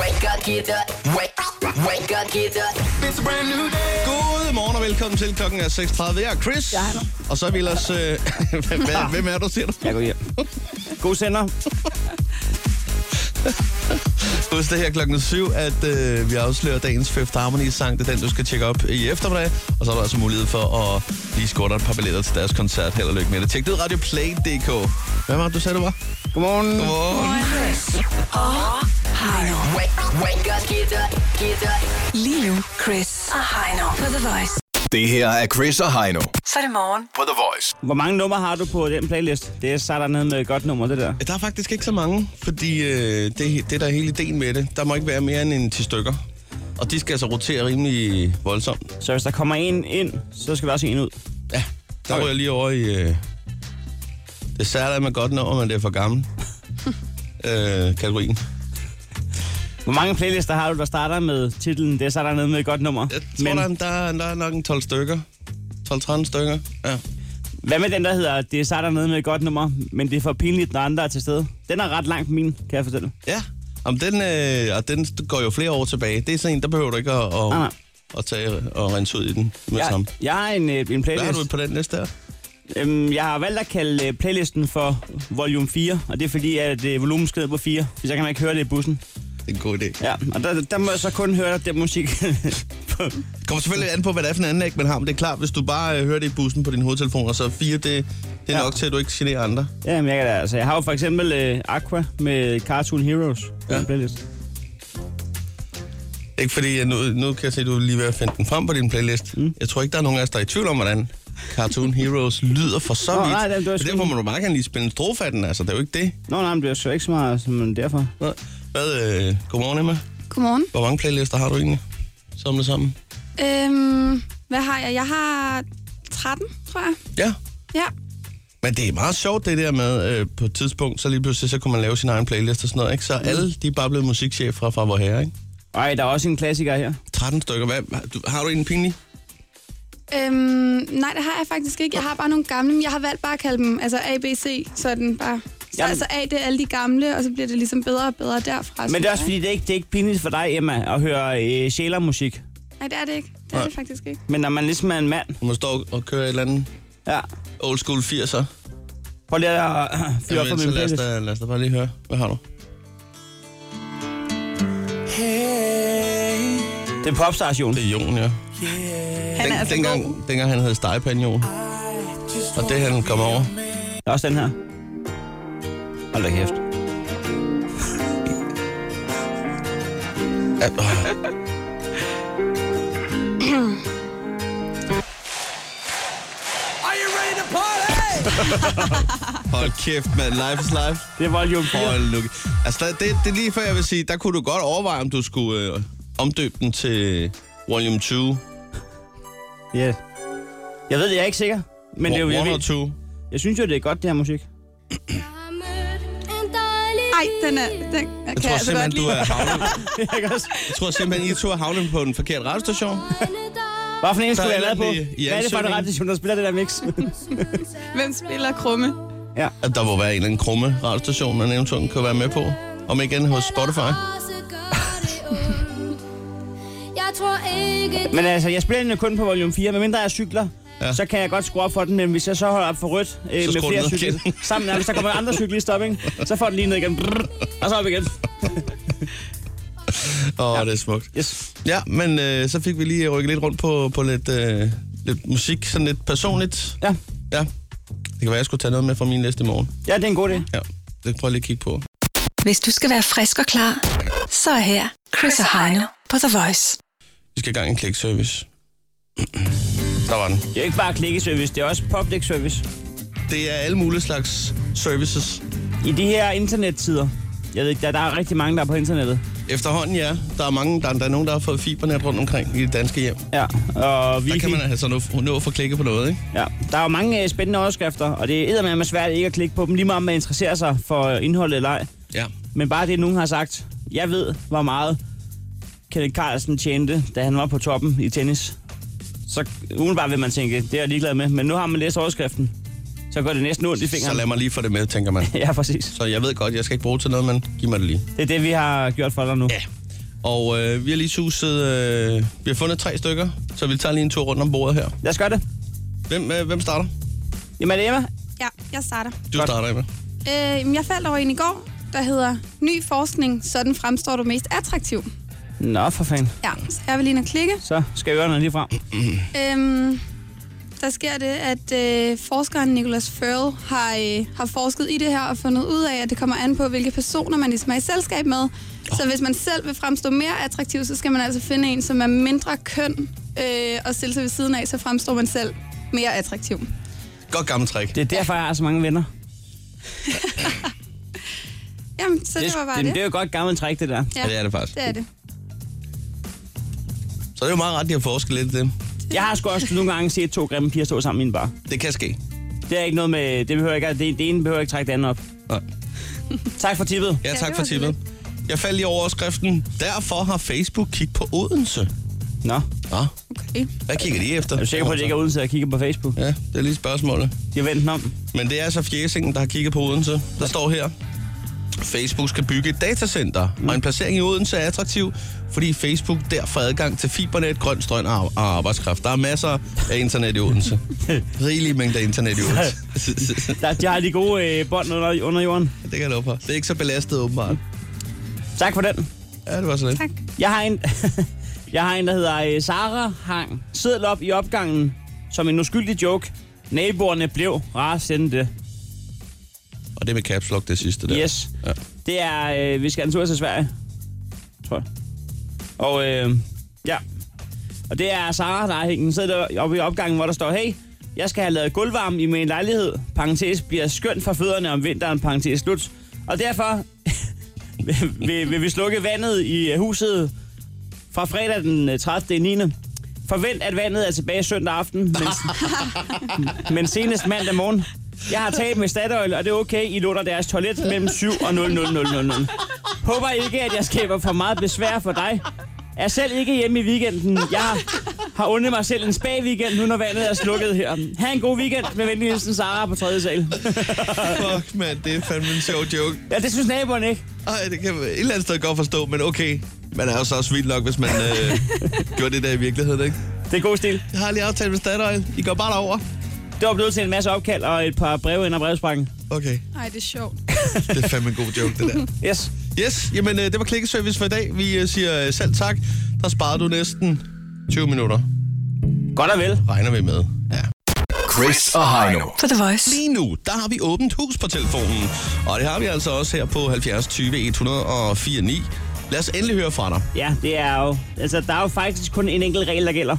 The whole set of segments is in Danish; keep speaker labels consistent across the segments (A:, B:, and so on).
A: Wake up, get up. Wake, wake up, get up. It's a brand new day.
B: God morgen og velkommen til. Klokken er 6.30. Jeg er Chris.
C: Jeg er her.
B: og så er vi ellers... Øh, hvem, er- hvem er du, siger du?
D: Ah. Jeg går hjem. God sender.
B: Husk det her klokken 7, at øh, vi afslører dagens Fifth Harmony-sang. Det er den, du skal tjekke op i eftermiddag. Og så er der altså mulighed for at lige score dig et par billetter til deres koncert. Held og lykke med det. Tjek det ud radioplay.dk. Hvad var det, du sagde, du var?
D: Godmorgen.
B: Godmorgen.
C: Heino.
A: Wake, wake up, get up, get up.
C: Lige nu, Chris og Heino på The Voice.
E: Det her er Chris og Heino
C: Så er det morgen.
E: på The Voice.
D: Hvor mange numre har du på den playlist? Det er sat ned med et godt nummer, det der.
B: Der er faktisk ikke så mange, fordi øh, det, det der er hele ideen med det. Der må ikke være mere end en 10 stykker. Og de skal altså rotere rimelig voldsomt.
D: Så hvis der kommer en ind, så skal der også en ud.
B: Ja, der
D: Okay.
B: okay. var jeg lige over i... Øh, det særlige er man godt når, man det er for gammel. øh, kategorien.
D: Hvor mange playlister har du, der starter med titlen Det er sat ned med et godt nummer?
B: Jeg tror, Men... der, er, der, er, der er nok en 12 stykker. 12-13 stykker, ja.
D: Hvad med den, der hedder Det er sat ned med et godt nummer, men det er for pinligt, når andre er til stede? Den er ret langt min, kan jeg fortælle.
B: Ja, Jamen, den, øh, og den går jo flere år tilbage. Det er sådan en, der behøver du ikke at, at,
D: Nej, nej.
B: at tage og rense ud i den med ja.
D: Jeg,
B: sammen.
D: jeg har en, øh, en
B: Hvad har
D: playlist.
B: du på den næste her?
D: Øhm, jeg har valgt at kalde øh, playlisten for volume 4, og det er fordi, at øh, volumen skal ned på 4, for så kan man ikke høre det i bussen.
B: Det er en god idé.
D: Ja, og der, der må jeg så kun høre den musik.
B: kommer selvfølgelig an på, hvad det er for en anlæg, man har. Men det er klart, hvis du bare øh, hører det i bussen på din hovedtelefon, og så fire, det, det er
D: Ja.
B: nok til, at du ikke generer andre.
D: ja, men jeg, kan da, altså, jeg har jo for eksempel øh, Aqua med Cartoon Heroes på
B: Ja.
D: ja. playlist.
B: Ikke fordi, jeg nu, nu kan jeg se, at du er lige ved at finde den frem på din playlist. Mm. Jeg tror ikke, der er nogen af os, der er i tvivl om, hvordan Cartoon Heroes lyder for så
D: Nå,
B: vidt.
D: nej, den- det var
B: Men
D: sgu-
B: derfor må du meget gerne lige spille en strofe af den, altså. Det er jo ikke det.
D: Nå, nej, men det er så ikke så meget som derfor.
B: Nå. Hvad, øh, godmorgen Emma.
F: Godmorgen.
B: Hvor mange playlister har du egentlig? Samlet sammen.
F: Øhm, hvad har jeg? Jeg har 13, tror jeg.
B: Ja.
F: Ja.
B: Men det er meget sjovt, det der med, øh, på et tidspunkt, så lige pludselig, så kunne man lave sin egen playlist og sådan noget, ikke? Så alle, de er bare blevet musikchef fra, fra vor herre, ikke?
D: Mm. Ej, der er også en klassiker her.
B: 13 stykker. Hvad, du, har du en pinlig?
F: Øhm, nej, det har jeg faktisk ikke. Jeg har bare nogle gamle, men jeg har valgt bare at kalde dem altså A, B, C, sådan bare. Så
D: Jamen.
F: altså A, det er alle de gamle, og så bliver det ligesom bedre og bedre derfra.
D: Men
F: synes
D: det er også
F: jeg,
D: fordi, det er ikke, det er ikke pinligt for dig, Emma, at høre øh, sjælermusik.
F: ikke? Nej, det er det ikke. Det er
B: Nej.
F: det faktisk ikke.
D: Men når man ligesom er en mand,
B: Du må stå og køre et eller andet
D: ja.
B: old school 80'er.
D: Prøv lige at øh, fyre op for
B: Jamen, så
D: min
B: lad os,
D: playlist.
B: da, lad os da bare lige høre. Hvad har du?
D: Det er popstars, Jon.
B: Det er Jon, ja.
F: Han er altså god.
B: dengang, dengang han hed Stegepan, Jon. Og det han kom over.
D: Der er også den her. Hold da kæft.
B: Ja, øh. Hold kæft, mand. Life is life.
D: Det er volume 4.
B: Hold nu. Altså, der, det, det er lige før, jeg vil sige, der kunne du godt overveje, om du skulle øh, omdøbe den til volume 2. Men
D: Ja. Jeg ved det, jeg er ikke sikker. Men det er jo, jeg,
B: One or
D: ved,
B: two.
D: jeg synes jo, det er godt, det her musik.
F: Ej, den er... Den jeg
B: Jeg
F: kan altså
B: tror
F: godt
B: simpelthen, du
F: lide.
B: er havnet.
D: jeg kan også.
B: Jeg tror simpelthen, I to er havnet på den forkerte radiostation.
D: Hvad for en
B: Der
D: skulle
B: er
D: jeg lave på?
B: et eller andet i- i
D: Hvad er det for en
B: ansøgningen?
D: radiostation, der spiller det der mix?
F: Hvem spiller krumme?
B: At der må være en eller anden krumme radiostation, man eventuelt kan være med på. Om igen hos Spotify.
G: Jeg tror ikke,
D: men altså, jeg spiller den jo kun på volume 4, medmindre jeg cykler.
B: Ja.
D: Ja. Så kan jeg godt skrue op for den, men hvis jeg så holder op for rødt øh,
B: skruer
D: med
B: den
D: flere
B: ned
D: cykler
B: igen.
D: sammen, ja, hvis der kommer andre cyklister op, ikke? så får den lige ned igen. Brrr, og så op igen.
B: Åh, oh, det er smukt.
D: Yes.
B: Ja, men øh, så fik vi lige rykket lidt rundt på, på lidt, øh, lidt musik, sådan lidt personligt.
D: Ja.
B: Ja. Det kan være, jeg skulle tage noget med fra min næste morgen.
D: ja, det er en god idé.
B: Ja, det prøver jeg lige at kigge på.
C: Hvis du skal være frisk og klar, så er her Chris og Heino på The Voice.
B: Vi skal i gang i en klikservice. Der var den.
D: Det er jo ikke bare klikkeservice, det er også public service.
B: Det er alle mulige slags services.
D: I de her internettider, jeg ved ikke, der, der er rigtig mange, der er på internettet.
B: Efterhånden, ja. Der er mange, der, der er nogen, der har fået fibernet rundt omkring i det danske hjem.
D: Ja, og vi
B: Der kan man altså nå, nå at få klikket på noget, ikke?
D: Ja, der er jo mange øh, spændende overskrifter, og det er eddermame svært ikke at klikke på dem, lige meget om man interesserer sig for øh, indholdet eller ej.
B: Ja.
D: Men bare det, nogen har sagt, jeg ved, hvor meget Kenneth Carlsen tjente, da han var på toppen i tennis. Så umiddelbart vil man tænke, det er jeg ligeglad med, men nu har man læst overskriften, så går det næsten ondt i
B: Så
D: fingrene.
B: lad mig lige få det med, tænker man.
D: Ja, præcis.
B: Så jeg ved godt, jeg skal ikke bruge til noget, men giv mig det lige.
D: Det er det, vi har gjort for dig nu.
B: Ja. Og øh, vi har lige suset, øh, vi har fundet tre stykker, så vi tager lige en tur rundt om bordet her.
D: Lad os gøre det.
B: Hvem, øh, hvem starter?
D: Jamen, er det Emma?
F: Ja, jeg starter.
B: Du
D: Godt.
B: starter, Emma.
F: Øh, jamen, jeg faldt over en i går, der hedder Ny forskning, sådan fremstår du mest attraktiv.
D: Nå, for fanden.
F: Ja, så jeg vil lige ind og klikke.
D: Så skal ørerne lige frem.
F: Øhm, der sker det, at øh, forskeren Nicholas Furl har, øh, har forsket i det her og fundet ud af, at det kommer an på, hvilke personer man ligesom er i selskab med. Så hvis man selv vil fremstå mere attraktiv, så skal man altså finde en, som er mindre køn øh, og stille sig ved siden af, så fremstår man selv mere attraktiv.
B: Godt gammelt trick.
D: Det er derfor, jeg har så mange venner.
F: Jamen, så det, det var bare
D: det,
F: det.
D: det er jo et godt gammelt træk, det der.
B: Ja, det er det faktisk.
F: Det er det.
B: Så det er jo meget ret, de har forsket lidt i det.
D: Jeg har sgu også nogle gange set to grimme piger stå sammen i en bar.
B: Det kan ske.
D: Det er ikke noget med... Det, behøver ikke, det, det ene behøver ikke trække det andet op.
B: Nej.
D: Tak for tippet.
B: Ja, tak
F: det
B: for
F: var så
B: tippet. Jeg faldt lige over overskriften. Derfor har Facebook kigget på Odense.
D: Nå,
B: Nå,
F: Okay.
B: hvad kigger de efter?
D: er du sikker på, at det ikke er uden til at kigge på Facebook?
B: Ja, det er lige spørgsmålet.
D: De har vendt den om.
B: Men det er altså Fjesingen, der har kigget på Odense. Der står her, Facebook skal bygge et datacenter,
D: Mm.
B: og en placering i Odense er attraktiv, fordi Facebook der får adgang til fibernet, grøn strøm og ar- og arbejdskraft. Der er masser af internet i Odense. Rigelige mængder internet i Odense.
D: Der, de har de gode øh, bånd under, under jorden.
B: det kan jeg love for. Det er ikke så belastet åbenbart.
D: Tak for den.
B: Ja, det var så lidt.
F: Tak.
D: Jeg har en, jeg har en der hedder øh, Sara Hang. Siddel op i opgangen som en uskyldig joke. Naboerne blev rasende.
B: Og det med caps lock, det sidste der.
D: Yes.
B: Ja.
D: Det er, øh, vi skal en tur til Sverige, tror jeg. Og øh, ja, og det er Sara, der er hængt sidder der oppe i opgangen, hvor der står, hey, jeg skal have lavet gulvvarme i min lejlighed. Parentes bliver skønt for fødderne om vinteren, parentes slut. Og derfor vil, vil vi slukke vandet i øh, huset fra fredag den øh, 30. i 9. Forvent, at vandet er tilbage søndag aften, men, men senest mandag morgen. Jeg har talt med Statoil, og det er okay, I låner deres toilet mellem 7 og 0000. Håber ikke, at jeg skaber for meget besvær for dig. Er selv ikke hjemme i weekenden. Jeg har- har undet mig selv en spa-weekend, nu når vandet er slukket her. Ha' en god weekend med venlig hilsen Sara på 3. sal.
B: Fuck, mand, det er fandme en sjov joke.
D: Ja, det synes naboerne ikke.
B: Ej, det kan jeg et eller andet sted godt forstå, men okay. Man er jo så også vildt nok, hvis man øh, gjorde det der i virkeligheden, ikke?
D: Det er god stil.
B: Jeg har lige aftalt med Statoil. I går bare derover.
D: Det var blevet til en masse opkald og et par breve ind ad brevsprangen.
B: Okay,
F: Ej, det er sjovt.
B: det er fandme en god joke, det der.
D: Yes.
B: Yes, jamen øh, det var klikkeservice for i dag. Vi øh, siger øh, selv tak. Der sparede du næsten 20 minutter,
D: Godt og vel.
B: regner vi med. Ja.
E: Chris og Heino.
C: På The Voice.
B: Lige nu, der har vi åbent hus på telefonen. Og det har vi altså også her på 70 20 104 9. Lad os endelig høre fra dig.
D: Ja, det er jo... Altså, der er jo faktisk kun en enkelt regel, der gælder.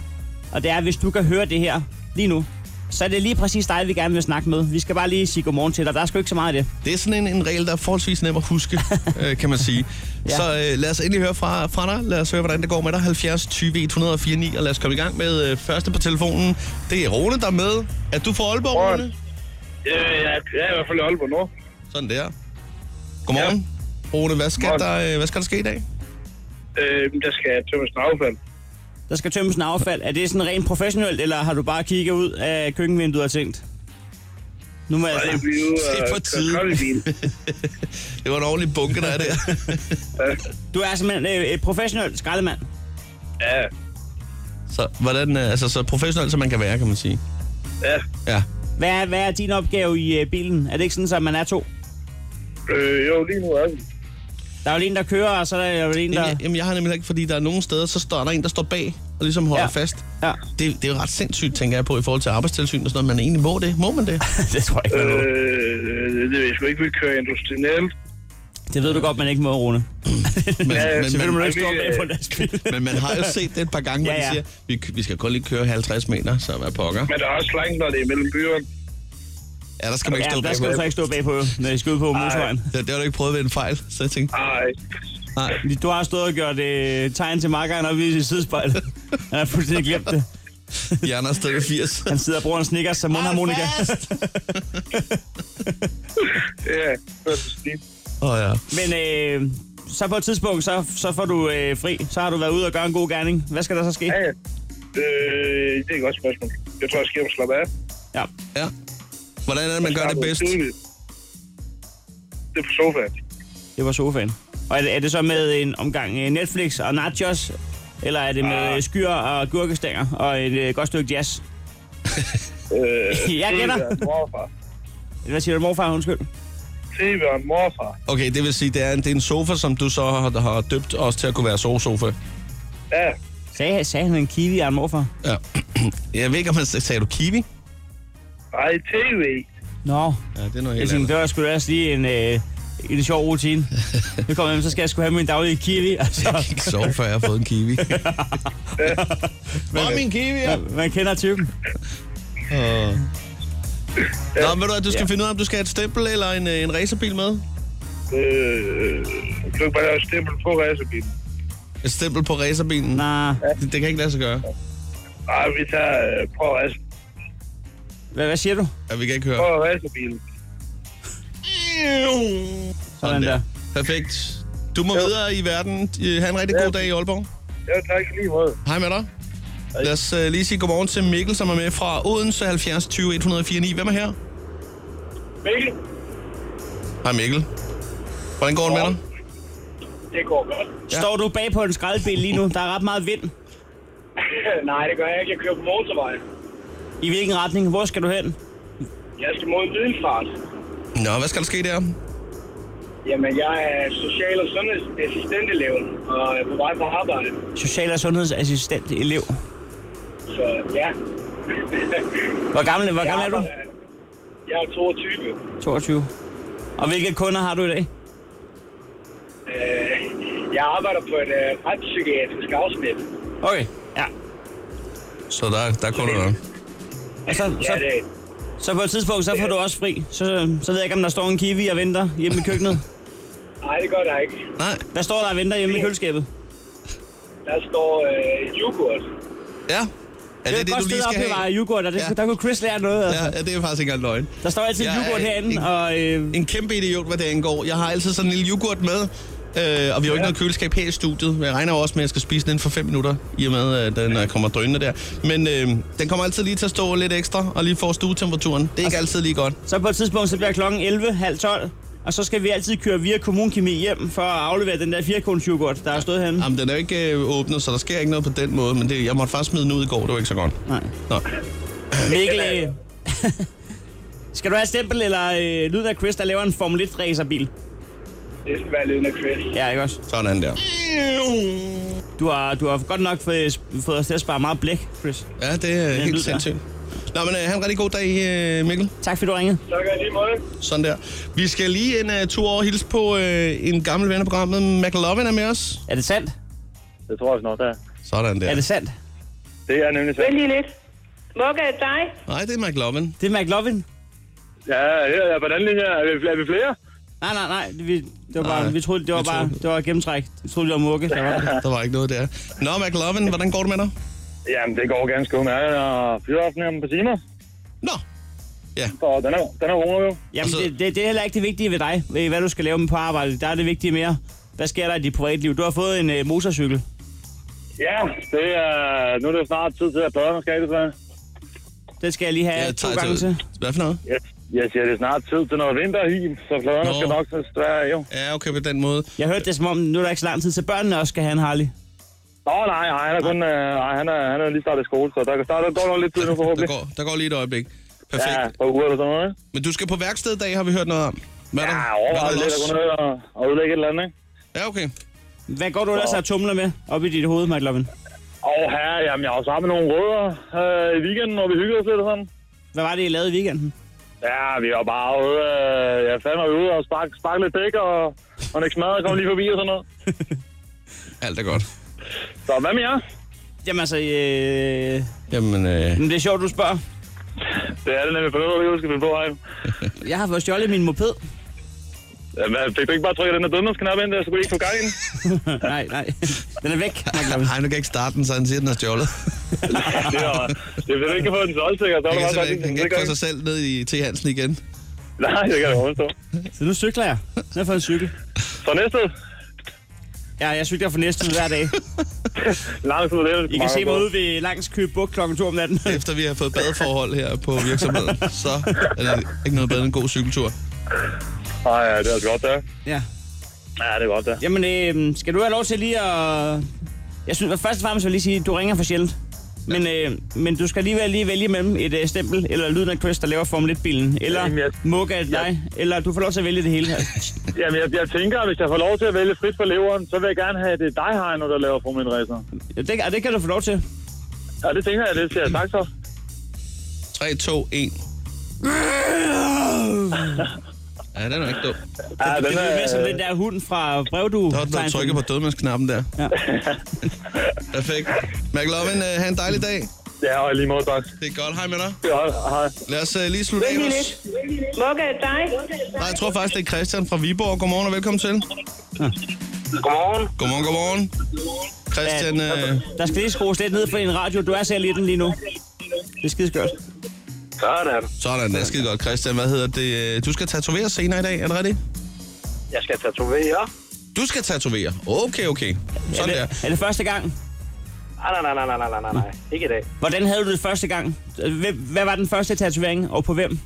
D: Og det er, hvis du kan høre det her lige nu, så er det lige præcis dig, vi gerne vil snakke med. Vi skal bare lige sige godmorgen til dig. Der er sgu ikke så meget af det.
B: Det er sådan en, en regel, der er forholdsvis nem at huske, øh, kan man sige. ja.
D: Ja.
B: Så øh, lad os endelig høre fra, fra dig. Lad os høre, hvordan det går med dig. 70 20 104 9, og lad os komme i gang med øh, første på telefonen. Det er Rune, der er med. Er du fra Aalborg, Rune?
H: Øh, jeg jeg er i hvert fald i Aalborg nu.
B: Sådan der. Godmorgen. Ja. Rune, hvad skal,
H: Godmorgen.
B: der, øh, hvad skal der ske i dag?
H: Øh, der skal jeg tømmes en affald.
D: Der skal tømmes en affald. Er det sådan rent professionelt, eller har du bare kigget ud af køkkenvinduet og tænkt? Nu må jeg
H: Og det
D: altså...
H: bliver jo
B: Se
H: øh,
B: på tiden.
H: kold i bilen.
B: Det var en ordentlig bunke, der er der.
D: Du er simpelthen øh, et professionelt skraldemand.
H: Ja,
B: så, hvordan, øh, altså, så professionelt, som man kan være, kan man sige.
H: ja.
B: Ja.
D: Hvad er, hvad er din opgave i øh, bilen? Er det ikke sådan, at man er to?
H: Øh, jo, lige nu er vi.
D: Der er jo en, der kører, og så er der jo en,
B: Jamen,
D: der...
B: jeg, jamen, jeg har nemlig ikke, fordi der er nogle steder, så står der en, der står bag og ligesom holder ja.
D: Ja.
B: fast.
D: Ja,
B: Det, det er jo ret sindssygt, tænker jeg på, i forhold til arbejdstilsyn og sådan noget. Man egentlig må det. Må man det?
D: det tror jeg ikke, man må.
H: Øh, det ved jeg sgu ikke, vi kører industrielt.
D: Det ved du godt, man ikke må, Rune.
B: Men,
H: Ja,
B: men,
D: Selvfølgelig må du
B: men,
D: ikke stå
H: vi, øh,
D: bag på en lastbil.
B: men man har jo set det et par gange, hvor
D: Ja,
B: ja,
D: ja.
B: ja. de siger, vi, vi skal kun lige køre 50 meter, så hvad pokker.
H: Men der er også langt, når det er mellem byerne.
B: Ja, der skal man ikke
D: Ja,
B: stå
D: der
B: bag.
D: skal du så ikke stå bagpå, når I skal ud på motorvejen.
B: Det, det har du ikke prøvet ved en fejl, så jeg tænkte,
H: Ej,
B: nej.
D: Du har stået og gjort øh, tegn til makkeren oppe i sidespejlet. Han har fuldstændig glemt det.
B: Hjernen er stadig 80.
D: Han sidder og bruger en snickers som mundharmonika.
H: ja. så er det snilt.
B: Åh oh, ja.
D: Men øh, så på et tidspunkt, så, så får du øh, fri. Så har du været ude og gøre en god gerning. Hvad skal der så ske?
H: Ja, ja. Øh, det er et godt spørgsmål. Jeg tror, jeg skal hjem og slappe af.
D: Ja.
B: ja. Hvordan er det, man gør det bedst?
H: Det er på sofaen.
D: Det var sofaen. Og er det, er det så med en omgang øh, Netflix og nachos? Eller er det
I: Ah.
D: med øh, skyer og gurkestænger og et øh, godt stykke jazz?
I: Øh,
D: Jeg gætter.
I: Severn morfar.
D: Hvad siger du, morfar? Undskyld.
I: Severn morfar.
B: Okay, det vil sige, det er en, det er en sofa, som du så har, har døbt også til at kunne være sovesofa.
I: Ja,
D: Sagde, sagde han en kiwi og en morfar?
B: Ja. Jeg ved ikke, om man sagde du kiwi?
I: nej, tv.
D: Nå,
B: Ja, det er noget
D: jeg
B: helt
D: tænkte,
B: andet.
D: det var sgu da også lige en, øh, en sjov rutine. Nu kommer jeg hjem, så skal jeg sgu have min daglige kiwi. og
B: Jeg
D: så-
B: kan ikke sove, før jeg har fået en kiwi. Hvor er min kiwi? Ja.
D: Man kender typen.
B: Nå, men ved du hvad, du skal finde ud af, om du skal have et stempel eller en, øh, en racerbil med.
I: Øh, kan du ikke bare lave et stempel på racerbilen?
B: Et stempel på racerbilen.
D: Nå,
B: Det, det kan ikke lade sig gøre.
I: Nej, vi tager øh, på, racer,
D: hvad, hvad siger du?
B: Ja, vi kan ikke
I: på
B: høre.
I: racerbilen.
D: Sådan der.
B: Perfekt. Du må videre i verden. Øh, Ha' en rigtig god dag i Aalborg.
I: Ja, tak i lige måde.
B: Hej med dig. Lad os øh, lige sige godmorgen til Mikkel, som er med fra Odense 70 20 104 9. Hvem er her?
I: Mikkel,
B: Hej Mikkel. Hvordan går det med dig?
I: det går godt.
B: Ja.
D: Står du bag på en skraldbil lige nu? Der er ret meget vind.
I: nej, det gør jeg ikke. Jeg kører på motorvejen.
D: I hvilken retning? Hvor skal du hen?
I: Jeg skal mod en middelfart.
B: Nå, hvad skal der ske der?
I: Jamen, jeg er social- og sundhedsassistentelev og er på vej på arbejde.
D: Social- og sundhedsassistent elev.
I: Så ja.
D: Hvor gammel, hvor gammel er du?
I: Jeg er 22.
D: 22. Og hvilke kunder har du i dag?
I: Øh, Jeg arbejder på et øh, retspsykiatrisk afsnit.
D: Okay. Ja.
B: Så der, der kunne du
D: Og så,
I: Ja,
D: så,
I: det er
D: så på et tidspunkt, så får du også fri. Så, så ved jeg ikke, om der står en kiwi og venter hjemme i køkkenet.
I: Nej, det gør der ikke.
B: Nej.
D: Hvad står der og venter hjemme i køleskabet?
I: Der står øh, yoghurt.
B: Ja. Er det det, du lige skal
D: have.
B: have?
D: yoghurt, og det,
B: Ja.
D: ja. der kunne Chris lære noget. Altså.
B: Ja, ja, det er faktisk ikke engang løgn.
D: Der står altid
B: Jeg er
D: yoghurt herinde,
B: ikke-
D: og øh,
B: En kæmpe idiot, hvad det angår. Jeg har altid sådan en lille yoghurt med, øh, og vi har jo ikke noget køleskab her i studiet. Men Jeg regner jo også med, at jeg skal spise den inden for 5 minutter, i og med, at den øh, kommer drønende der. Men øh, den kommer altid lige til at stå lidt ekstra, og lige få stuetemperaturen. Det er ikke altid lige godt.
D: så på et tidspunkt, så bliver klokken 11, halv 12. Og så skal vi altid køre via kommunkemi hjem for at aflevere den der 4 yoghurt, der har stået herinde.
B: Jamen, den er jo ikke øh, åbnet, så der sker ikke noget på den måde, men det, jeg måtte faktisk smide den ud i går, det var ikke så godt.
D: Nej.
B: Nå.
D: Mikkel, øh, skal du have et stempel eller øh, lyden af Chris, der laver en Formel 1 racerbil?
I: Det skal være lyden af Chris.
D: Ja, ikke også?
B: Sådan der.
D: Du har, du har godt nok fået, fået os til at spare meget blæk, Chris.
B: Ja, det er
D: en lyd,
B: helt
D: ja.
B: sindssygt. Nå, men øh, have en rigtig god dag, øh, Mikkel.
D: Tak fordi du ringede.
I: Tak og i lige måde.
B: Sådan der. Vi skal lige en uh, tur over og hilse på uh, en gammel ven af programmet. McLovin er med os.
D: Er det sandt?
I: Det tror jeg snart, der.
B: Sådan der.
D: Er det sandt?
I: Det er nemlig så.
J: Vent lige lidt. Mokka er det dig?
B: Nej, det er McLovin.
D: Det er McLovin?
I: Ja, her er på den linje. Er vi, er vi flere?
D: Nej, nej, nej. Vi, det var bare,
B: Nej,
D: vi troede, det var
B: vi
D: bare
B: troede-
D: det var gennemtræk. Vi troede, det var mugge. Der var det.
B: Der var ikke noget der. Nå, McLovin, hvordan går det med dig?
I: Jamen, det går ganske udmærket. Og fyraften her om et par timer.
B: Nå,
I: Så den er, den er rolig jo.
D: Jamen,
B: Altså-
D: det, det, det, er heller ikke det vigtige ved dig, ved hvad du skal lave med på arbejde. Der er det vigtige mere. Hvad sker der i dit privatliv? Du har fået en øh, motorcykel.
I: Ja, det er, nu er det jo snart tid til at børnene skal det, så.
D: Den skal jeg lige have
B: jeg
D: to
B: tager
D: gange til.
B: Hvad for noget?
I: Yes. Jeg siger, det er snart tid til noget vinterhim, så fladerne
B: Nå.
I: skal nok til Sverige, jo.
B: Ja, okay, på den måde.
D: Jeg hørte det som om, nu er der ikke så lang tid til børnene også skal have en Harley.
I: Nå, nej, nej, han er kun, øh, nej, han er, han er lige startet i skole, så der, der, der går nok lidt tid nu
B: Der
I: forhåbentlig.
B: går, der går lige et øjeblik. Perfekt.
I: Ja, på uger eller sådan noget, ikke?
B: Men du skal på værksted i dag, har vi hørt noget om. Hvad er
I: Ja,
B: der-
I: overvejer
B: hvad er
I: lidt
B: der
I: at gå
B: los?
I: ned og, og udlægge et eller andet, ikke?
B: Ja, okay.
D: Hvad går du ellers og tumler med op i dit hoved, McLovin?
I: Og her, oh, jamen, jeg var sammen med nogle rødder øh, i weekenden, og vi hyggede os lidt og sådan.
D: Hvad var det, I lavede i weekenden?
I: Ja, vi var bare ude, øh, jeg fandt mig ude og spark, spark lidt dæk, og, og Nick Smadre kom lige forbi og sådan noget.
B: Alt er godt.
I: Så hvad med jer?
D: Jamen altså, øh,
B: Jamen, øh,
D: men det er sjovt, du spørger.
I: Det er det nemlig for noget, vi skal finde på her.
D: Jeg har fået stjålet min moped.
I: Jamen, fik du ikke bare trykket den her dødmandsknap ind der, så kunne I ikke få gang i den?
B: øh,
D: nej, nej. Den er væk, McLovin.
B: nej, nu kan jeg ikke starte den, så han siger, at den er stjålet.
I: Det var, det, hvis du ikke kan få den solgt, sikkert, så er
B: Han
I: det
B: kan, simpelthen
I: bare sådan,
B: ikke- han kan ikke få sig selv ned i T. Hansen igen.
I: Nej, det kan jeg godt forstå.
D: Så nu cykler jeg. Nu har jeg fået en cykel.
I: Så næste,
D: Ja, jeg cykler for næste hver dag.
I: langt ud af det.
D: I kan se mig ude ved langs Køge Bugt klokken 2 om natten.
B: Efter vi har fået badeforhold her på virksomheden, så er der ikke noget bedre end en god cykeltur.
I: Nej, ja, det er altså godt, der.
D: ja.
H: Ja, det er godt, det.
D: Jamen, øh, skal du have lov til lige at... Jeg synes, først og fremmest vil jeg lige sige, at du ringer for sjældent. Men, øh, men du skal alligevel lige vælge mellem et øh, stempel, eller lyden af Chris, der laver Formel 1-bilen, eller
H: Jamen, jeg-
D: Mugga af dig, eller du får lov til at vælge det hele her.
H: Jamen, jeg, jeg tænker, at hvis jeg får lov til at vælge frit for leveren, så vil jeg gerne have, at det er dig, Heino, der laver Formel 1 racer.
D: Ja, det, og det kan du få lov til.
H: Ja, det tænker jeg, det siger jeg tak så.
B: 3, 2, 1. Ja, den er ikke dum.
H: Ja,
D: Det
H: den
D: lyder mere som
H: er,
D: den der hund fra Brevdu.
B: Der var den, der trykker på dødmandsknappen der.
D: Ja.
B: Perfekt. McLovin, øh, have en dejlig dag.
H: ja, og i lige måde, tak.
B: Det er godt. Hej med dig.
H: Ja, hej.
B: Lad os øh, lige slutte af hos...
K: Mugga af dig.
B: Nej, jeg tror faktisk, det er Christian fra Viborg. Godmorgen og velkommen til.
H: Godmorgen.
B: Godmorgen, godmorgen. Christian, øh,
D: Der skal lige skrues lidt ned for din radio. Du er selv i den lige nu. Det er skideskørt.
H: Sådan.
B: sådan, det er skide godt. Christian, hvad hedder det? Øh, Du skal tatovere senere i dag, er det rigtigt?
H: Jeg skal tatovere.
B: Du skal tatovere. Okay, okay.
D: Er
B: Sådan der.
D: det, er det første gang?
H: Nej, nej, nej, nej, nej, nej, nej, nej. Ikke i dag.
D: Hvordan havde du det første gang? Hvem, hvad var den første tatovering, og på hvem?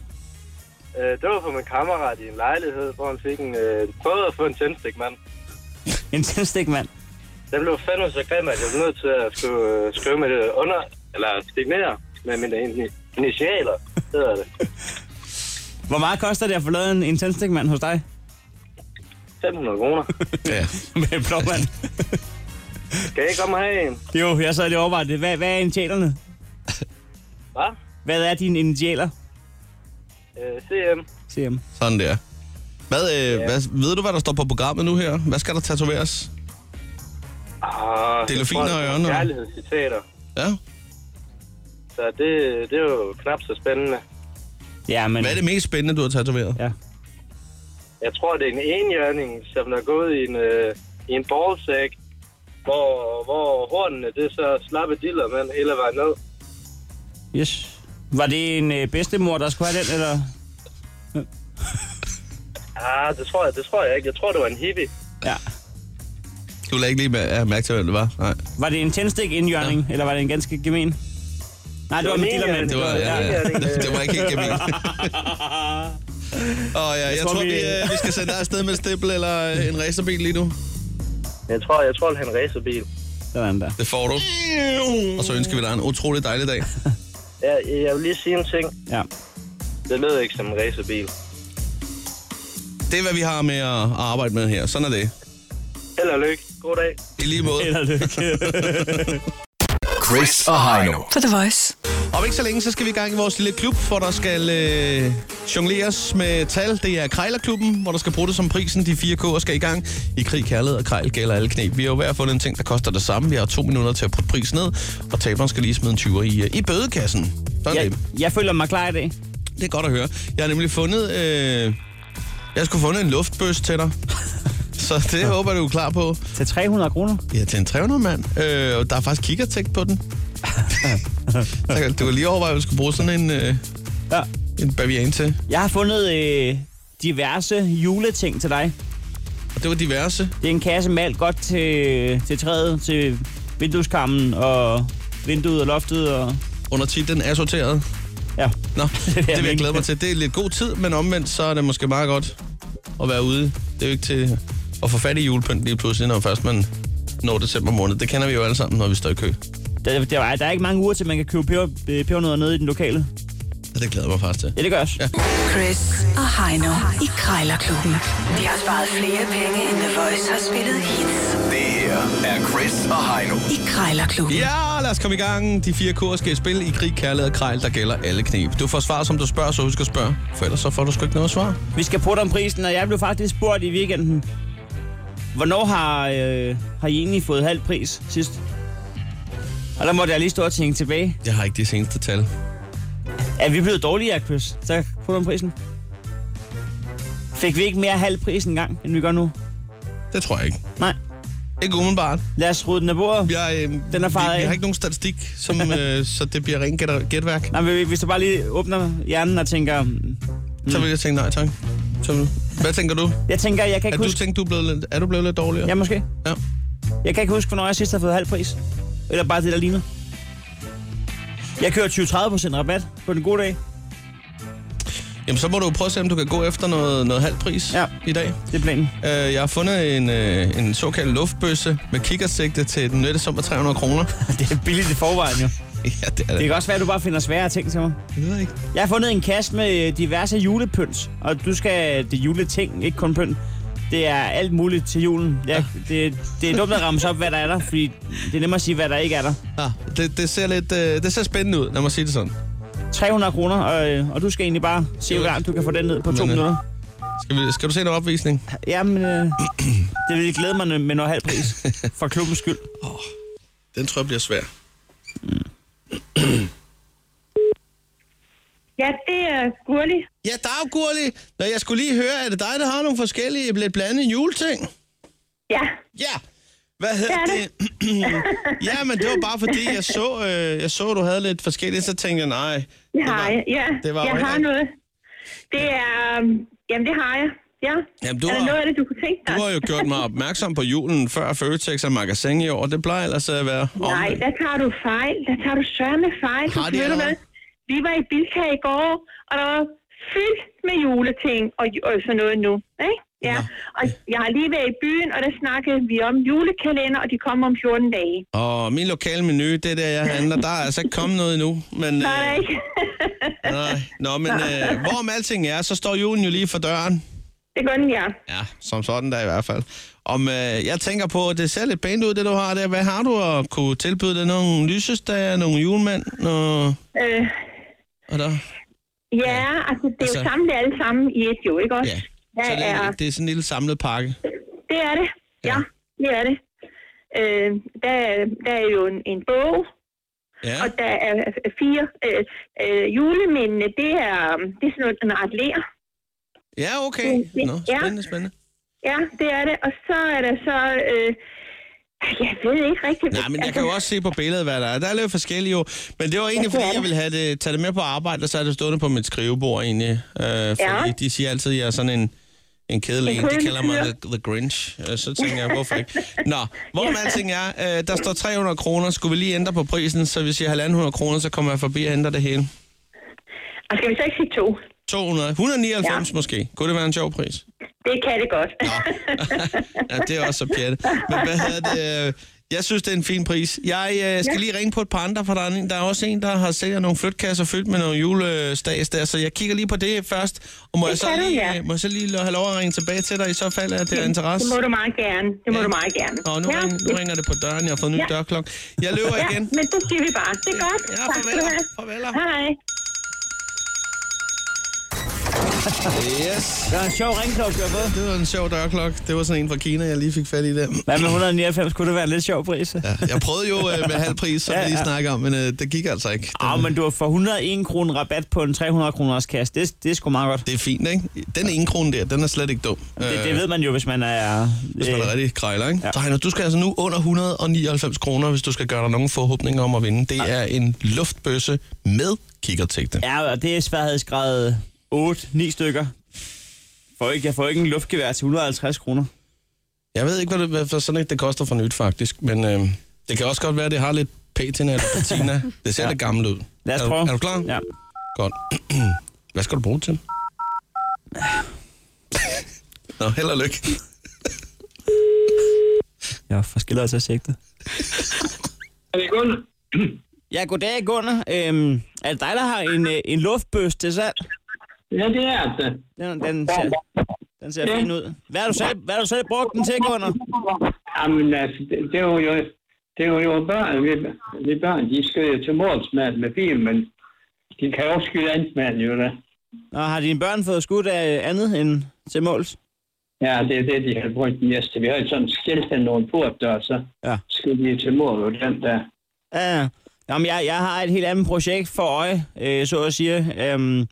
H: Øh, det var for min kammerat i en lejlighed, hvor han fik en, øh, prøvede at få en tændstik, mand.
D: En tændstik, mand.
H: Den blev fandme så grim, at jeg blev nødt til at skulle, øh, skrive med det under, eller signere med mine ini- initialer, hedder det.
D: Hvor meget koster det at få lavet en, en tændstik, mand, hos dig?
H: 500 kroner.
B: Ja.
D: Med en blåmand.
H: Skal I komme og have en?
D: Jo, jeg sad lige og overvejede det. Hvad, hvad er initialerne?
H: Hvad?
D: Hvad er dine initialer?
H: Øh, CM.
D: CM.
B: Sådan der. Hvad, øh, hvad, ved du, hvad der står på programmet nu her? Hvad skal der tatoveres?
H: Ah,
B: Delfiner
H: jeg tror, det er
B: og ørner.
H: Kærlighedscitater.
B: Ja.
H: Så det, det er jo knap så spændende.
D: Ja, men...
B: Hvad er det mest spændende, du har tatoveret?
D: Ja.
H: Jeg tror, det er en enhjørning, som der er gået i en, øh, i en ballsack, hvor, hvor hornene det er så slappe diller, mand, hele vejen ned.
D: Yes. Var det en øh, bedstemor, der skulle have den, eller?
H: Ah, det tror jeg, det tror jeg ikke. Jeg tror, det var en hippie.
D: Ja.
B: Du lagde ikke lige mær- ja, mærke til, hvem det var. Nej.
D: Var det en tændstik indjørning, ja. eller var det en ganske gemen? Nej, det var med
H: en
D: dillermand.
B: Det var, ja, ja. det var ikke helt gement. Og ja, jeg, jeg tror,
D: tror,
B: vi,
D: vi-
B: øh, vi skal sende dig afsted med et stempel eller øh, en racerbil lige nu.
H: Jeg tror, jeg tror, det er en racerbil.
D: Sådan der.
B: Det får du. Og så ønsker vi dig en utrolig dejlig dag.
H: Ja, jeg vil lige sige en ting.
D: Ja.
H: Det lød ikke som en racerbil.
B: Det er, hvad vi har med at at arbejde med her. Sådan er det.
H: Held og lykke. God dag.
B: I lige måde.
D: Held og lykke.
E: Chris Ahino.
C: På The Voice.
B: Om ikke så længe, så skal vi i gang i vores lille klub, hvor der skal øh, jongleres med tal. Det er Krejlerklubben, hvor der skal bruges som prisen. De 4K'er skal i gang. I krig, kærlighed og krejl gælder alle knep. Vi har jo hver fundet en ting, der koster det samme. Vi har to minutter til at putte prisen ned, og taberen skal lige smide en 20'er i, øh, i bødekassen. Sådan
D: jeg,
B: det.
D: jeg føler mig klar i dag.
B: Det er godt at høre. Jeg har nemlig fundet... Øh, jeg skulle fundet en luftbøs til dig. Så det håber jeg, du er klar på.
D: Til 300 kroner.
B: Ja, til en 300 mand. Øh, og der er faktisk kikkertægt på den. Så kan- du kan lige overveje, at du skulle bruge sådan en, øh,
D: Ja.
B: en bavian til.
D: Jeg har fundet øh, diverse juleting til dig.
B: Og det var diverse.
D: Det er en kasse med alt godt til, til træet, til vindueskammen og vinduet og loftet. Og,
B: Under titlen Assorteret.
D: ja.
B: Nå, det vil jeg
D: mene.
B: glæde mig til. Det er lidt god tid, men omvendt, så er det måske meget godt at være ude. Det er jo ikke til at få fat i julepynt lige pludselig, når først man når december måned. Det kender vi jo alle sammen, når vi står i kø.
D: Der, der, er, der er ikke mange uger til, man kan købe peber, øh, pebernødder nede i den lokale.
B: Så det glæder jeg mig faktisk til.
D: Ja, det gør jeg også.
C: Chris og Heino i Krejlerklubben. De har sparet flere penge, end The Voice har spillet hits
E: Det her er Chris Ahino.
C: i Krejlerklubben.
B: Ja, lad os komme i gang. De fire kurs skal i spil i krig, kærlighed og krejl, der gælder alle knep. Du får svar, som du spørger, så husk at spørge. For ellers så får du sgu ikke noget svar.
D: Vi skal putte om prisen, og jeg blev faktisk spurgt i weekenden. Hvornår har, øh, har I egentlig fået halv pris sidst? Og der måtte jeg lige stå og tænke tilbage.
B: Jeg har ikke de seneste tal.
D: Er vi blevet dårligere, Chris? Så putte om prisen. Fik vi ikke mere halv pris engang, end vi gør nu?
B: Det tror jeg ikke.
D: Nej.
B: Ikke umiddelbart.
D: Lad os rydde den af bordet.
B: Jeg, øh,
D: Den er faret
B: vi, vi
D: af.
B: har ikke nogen statistik, som, øh, så det bliver rent gæt- gætværk.
D: Nej, men hvis du bare lige åbner hjernen og tænker... mm.
B: Så vil jeg tænke nej, tak. Så, hvad tænker du?
D: Jeg tænker, jeg kan
B: Er du
D: ikke huske...
B: tænkt, du er blevet lidt, er du blevet lidt dårligere?
D: Ja, måske.
B: Ja.
D: Jeg kan ikke huske, hvornår jeg sidst har fået halv pris. Eller bare det, der ligner. Jeg kører 20-30% rabat på den gode dag.
B: Jamen, så må du prøve at se, om du kan gå efter noget, noget halv pris
D: Ja.
B: i dag.
D: Det er planen.
B: Øh, jeg har fundet en, øh, en såkaldt luftbøsse med kikkersigte til den nette sum af 300 kroner.
D: Det er billigt i forvejen jo.
B: ja, det er
D: Det
B: det.
D: kan også være, at du bare finder svære ting til mig.
B: Jeg ved ikke.
D: Jeg har fundet en kasse med øh, diverse julepynt, og du skal det er juleting, ikke kun pynt. Det er alt muligt til julen.
B: Ah.
D: Ja, det, det er dumt at ramme op, hvad der er der, fordi det er nemmere at sige, hvad der ikke er der.
B: Ja, Ah, det, det, ser lidt, øh, det ser spændende ud, lad mig sige det sådan.
D: 300 kroner, og, øh, og du skal egentlig bare se, hvor langt du kan få den ned på to
B: Men, øh,
D: minutter.
B: Skal, vi, skal du se en opvisning?
D: Jamen, øh, det vil glæde mig med noget halv pris. For klubbens skyld.
B: Den tror jeg bliver svær.
K: Ja, det er Gurli.
B: Ja, dag, Gurli. Nå, jeg skulle lige høre, er det dig, der har nogle forskellige lidt blandede juleting?
K: Ja,
B: Ja. Hvad hedder
K: Det er
B: det? ja, men det var bare fordi, jeg så, øh, jeg så, du havde lidt forskelligt, så tænkte jeg, nej.
K: det har jeg. Ja,
B: det var
K: jeg
B: jo
K: har
B: heller
K: noget. Det er... øhm, Jamen, det har jeg. Ja.
B: Jamen, du
K: er der
B: har-
K: noget af det, du kunne tænke dig?
B: Du har jo gjort mig opmærksom på julen før Føtex og Magasin i år. Det plejer ellers at være om.
K: Nej, der tager du fejl. Der tager du sørme fejl.
B: Har de
K: Ved du
B: allerede?
K: hvad? Vi var i Bilka i går, og der var fyldt med juleting og, ju- og sådan noget nu. Ikke? Ja. Og jeg har lige været i byen, og der snakkede vi om julekalender, og de kommer om 14 dage.
B: Og min lokale menu, det er der, jeg handler. Der er altså ikke kommet noget endnu. Men,
K: Så er der
B: øh,
K: ikke...
B: nej. Nå, men øh, hvorom alting er, så står julen jo lige for døren.
K: det gør den, ja.
B: Ja, som sådan der i hvert fald. Om, øh, jeg tænker på, at det ser lidt pænt ud, det du har der. Hvad har du at kunne tilbyde dig? Nogle lysestager, nogle julemænd? Noget...
K: Øh,
B: Og der...
K: Ja, altså det er
B: Altså-
K: jo samlet alle sammen i et jo, ikke også?
B: Ja.
K: Ja,
B: Så det,
K: ja.
B: er, det er sådan en lille samlet pakke.
K: det er det. Ja, det er det. Øh, der, er- der er jo en, en bog,
B: Ja.
K: og der er fire øh, øh, julemændene. Det er, øhm, det er sådan noget, en radler.
B: Ja, okay. Nå,
K: Ja.
B: spændende, spændende.
K: Ja, det er det. Og så er der så... Øh, jeg ved ikke altså, rigtigt...
B: Nej, men jeg kan jo også se på billedet, hvad der er. Der er lidt forskellige jo. Men det var egentlig, fordi jeg ville have det, tage det med på arbejde, og så er det stående på mit skrivebord egentlig. Øh, fordi
K: Ja.
B: de siger altid, at jeg er sådan en, en kedelig
K: En
B: en. De
K: kedelig
B: kalder mig
K: fyr.
B: the, the Grinch. Øh, så tænker jeg, hvorfor ikke? Nå, hvor ja. alting er, øh, der står 300 kroner. Skulle vi lige ændre på prisen, så hvis jeg har 1.500 kroner, så kommer jeg forbi og ændrer det hele.
K: Og skal vi så ikke sige to?
B: 200, 199 ja. måske. Kunne det være en sjov pris?
K: Det kan det godt.
B: Ja, det er også så pjattet. Men hvad hedder det? øh, Jeg synes, det er en fin pris. Jeg øh, skal ja. lige ringe på et par andre, for der er, en, der er også en, der har sælger nogle flytkasser fyldt med nogle julestags der, så jeg kigger lige på det først. Og må, jeg så,
K: kan du,
B: lige,
K: ja.
B: øh, må jeg så lige have lov at ringe tilbage til dig, i så fald at det er
K: Det
B: interesse?
K: må du meget gerne. Det må
B: Ja.
K: du meget gerne.
B: Og nu, ja. ringer, nu ringer det på døren, jeg har fået en ny ja.
K: Ja.
B: dørklok. Jeg løber
K: ja,
B: igen.
K: men det siger vi bare. Det er godt.
B: Ja,
K: tak skal du
B: farvel.
K: have.
B: Farvel.
K: Hej.
B: Yes.
D: Det var en sjov ringklokke, du har fået.
B: Det var en sjov dørklok. Det var sådan en fra Kina, jeg lige fik fat i der.
D: Hvad med 199? Kunne det være en lidt sjov pris? Ja.
B: Jeg prøvede jo øh, med halv pris, som vi
D: Ja,
B: lige
D: ja.
B: snakker om, men øh, det gik altså ikke.
D: Ah, men du har for 101 kroner rabat på en 300 kroners kasse. Det, det er sgu meget godt.
B: Det er fint, ikke? Den ene krone der, den er slet ikke dum. Øh,
D: Det, det ved man jo, hvis man er... øh,
B: Hvis man er rigtig krejler, ikke? Ja.
D: Ja.
B: Så Heino, du skal altså nu under 199 kroner, hvis du skal gøre dig nogen forhåbninger om at vinde. Det er en luftbøsse med kikkertægte. Ja.
D: Ja, og det er sværhedsgrad 8-9 stykker. Får ikke, jeg får ikke en luftgevær til 150 kroner.
B: Jeg ved ikke, hvad, det, hvad for sådan et det koster for nyt, faktisk. Men øh, det kan også godt være, at det har lidt patina eller patina. Det ser ja. lidt gammelt ud.
D: Lad os
B: er, du-
D: prøve.
B: Er du klar?
D: Ja.
B: Godt. hvad skal du bruge det til? Nå, held og lykke.
D: Jeg er forskellig til sigtet.
H: Er det kun?
D: Ja, goddag, Gunnar. Øhm, er det dig, der har en, øh, en luftbøs til salg?
H: Ja, det er det.
D: Den, den ser, den ser fin ud. Hvad har du selv, hvad har du selv brugt den til, Gunnar?
H: Jamen, altså, det, det var jo... Det var jo børn, vi, vi børn, de skal jo til mordsmand med bil, men de kan jo også skyde andet mand, jo da.
D: Og har dine børn fået skudt af andet end til måls?
H: Ja, det er det, de har brugt den næste. Vi har jo sådan skilt den nogle portdør, så
D: Ja.
H: skal de til mor på den der.
D: Ja, ja. Jamen, jeg, jeg har et helt andet projekt for øje, øh, så at sige. Øhm,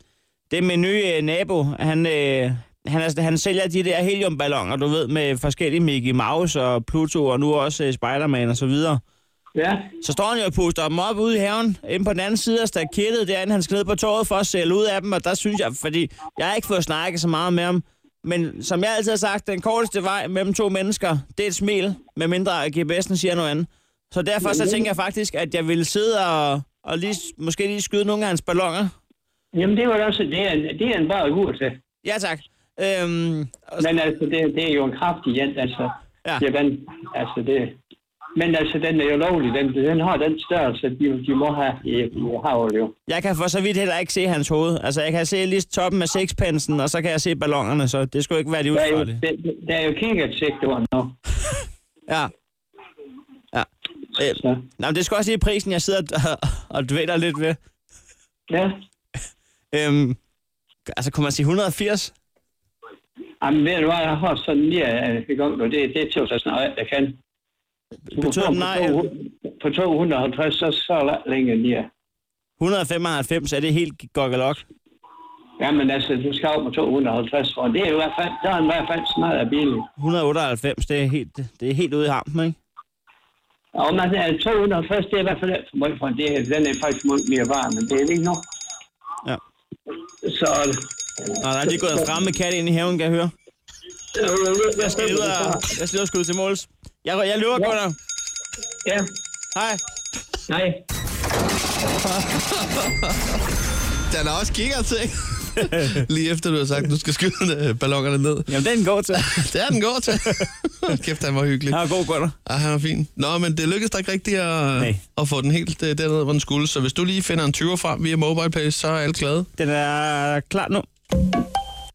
D: det er min nye øh, nabo. Han, øh, han, altså, han sælger de der heliumballoner, du ved, med forskellige Mickey Mouse og Pluto, og nu også øh, Spider-Man og så videre.
H: Ja,
D: Så står han jo og puster dem op ude i haven, inde på den anden side af stakettet derinde. Han skal ned på toget for at sælge ud af dem, og der synes jeg, fordi jeg har ikke fået snakket så meget med ham. Men som jeg altid har sagt, den korteste vej mellem to mennesker, det er et smil, medmindre GPS'en siger noget andet. Så derfor så tænker jeg faktisk, at jeg ville sidde og, og lige, måske lige skyde nogle af hans ballonger.
L: Jamen, det var da også, det er, en- det er en bare ur til.
D: Ja, tak. Øhm,
L: Men altså, det, det er jo en kraftig jant, altså.
D: Ja.
L: Jamen, altså det... Men altså, den er jo lovlig. Den, den har den størrelse, de, de må have i, i havet jo.
D: Jeg kan for så vidt heller ikke se hans hoved. Altså, jeg kan se lige toppen af sixpensen, og så kan jeg se ballongerne, så det skulle ikke være det
L: Der er jo,
D: udførlige.
L: der, der er jo kikkertsektoren nu.
D: Ja. Ja. Øh, nej, men det skal også lige prisen, jeg sidder og, og dvæler lidt ved.
L: Ja.
D: Øhm, altså, kunne man sige 180?
L: Jamen, ved du hvad, jeg har sådan lige øh, i gang nu. Det, det er til så snart, jeg kan. Du kan
D: Betyder
L: få
D: den nej,
L: På, 200 på 250, så, så er der længere lige.
D: 195, er det helt gokkelok?
L: Jamen altså, du skal op på 250, og det er jo i hvert fald, der er i hvert fald snart af bilen.
D: 198, det er helt, det er helt ude i hampen, ikke?
L: Og man er 250, det er i hvert fald alt for meget for det. her. Den er faktisk meget mere varm, men det er det ikke nok.
D: Ja.
L: Så...
D: Nå, der er lige gået en fremme kat ind i haven, kan jeg høre. Jeg skal lige ud og, jeg skal lige ud og skyde til måls. Jeg, jeg løber, Gunnar.
L: Ja.
D: Hej.
L: Hej.
B: Den er også kigger til. Lige efter du har sagt, at du skal skyde øh, ballongerne ned.
D: Jamen, den går til.
B: det er den går til. Kæft, han var hyggelig.
D: Han var god gutter.
B: Ah, han var fin. Nå, men det lykkedes dig ikke rigtigt at, at få den helt øh, dernede, hvor den skulle. Så hvis du lige finder en 20'er frem via MobilePay, så er alt glade.
D: Den er klar nu.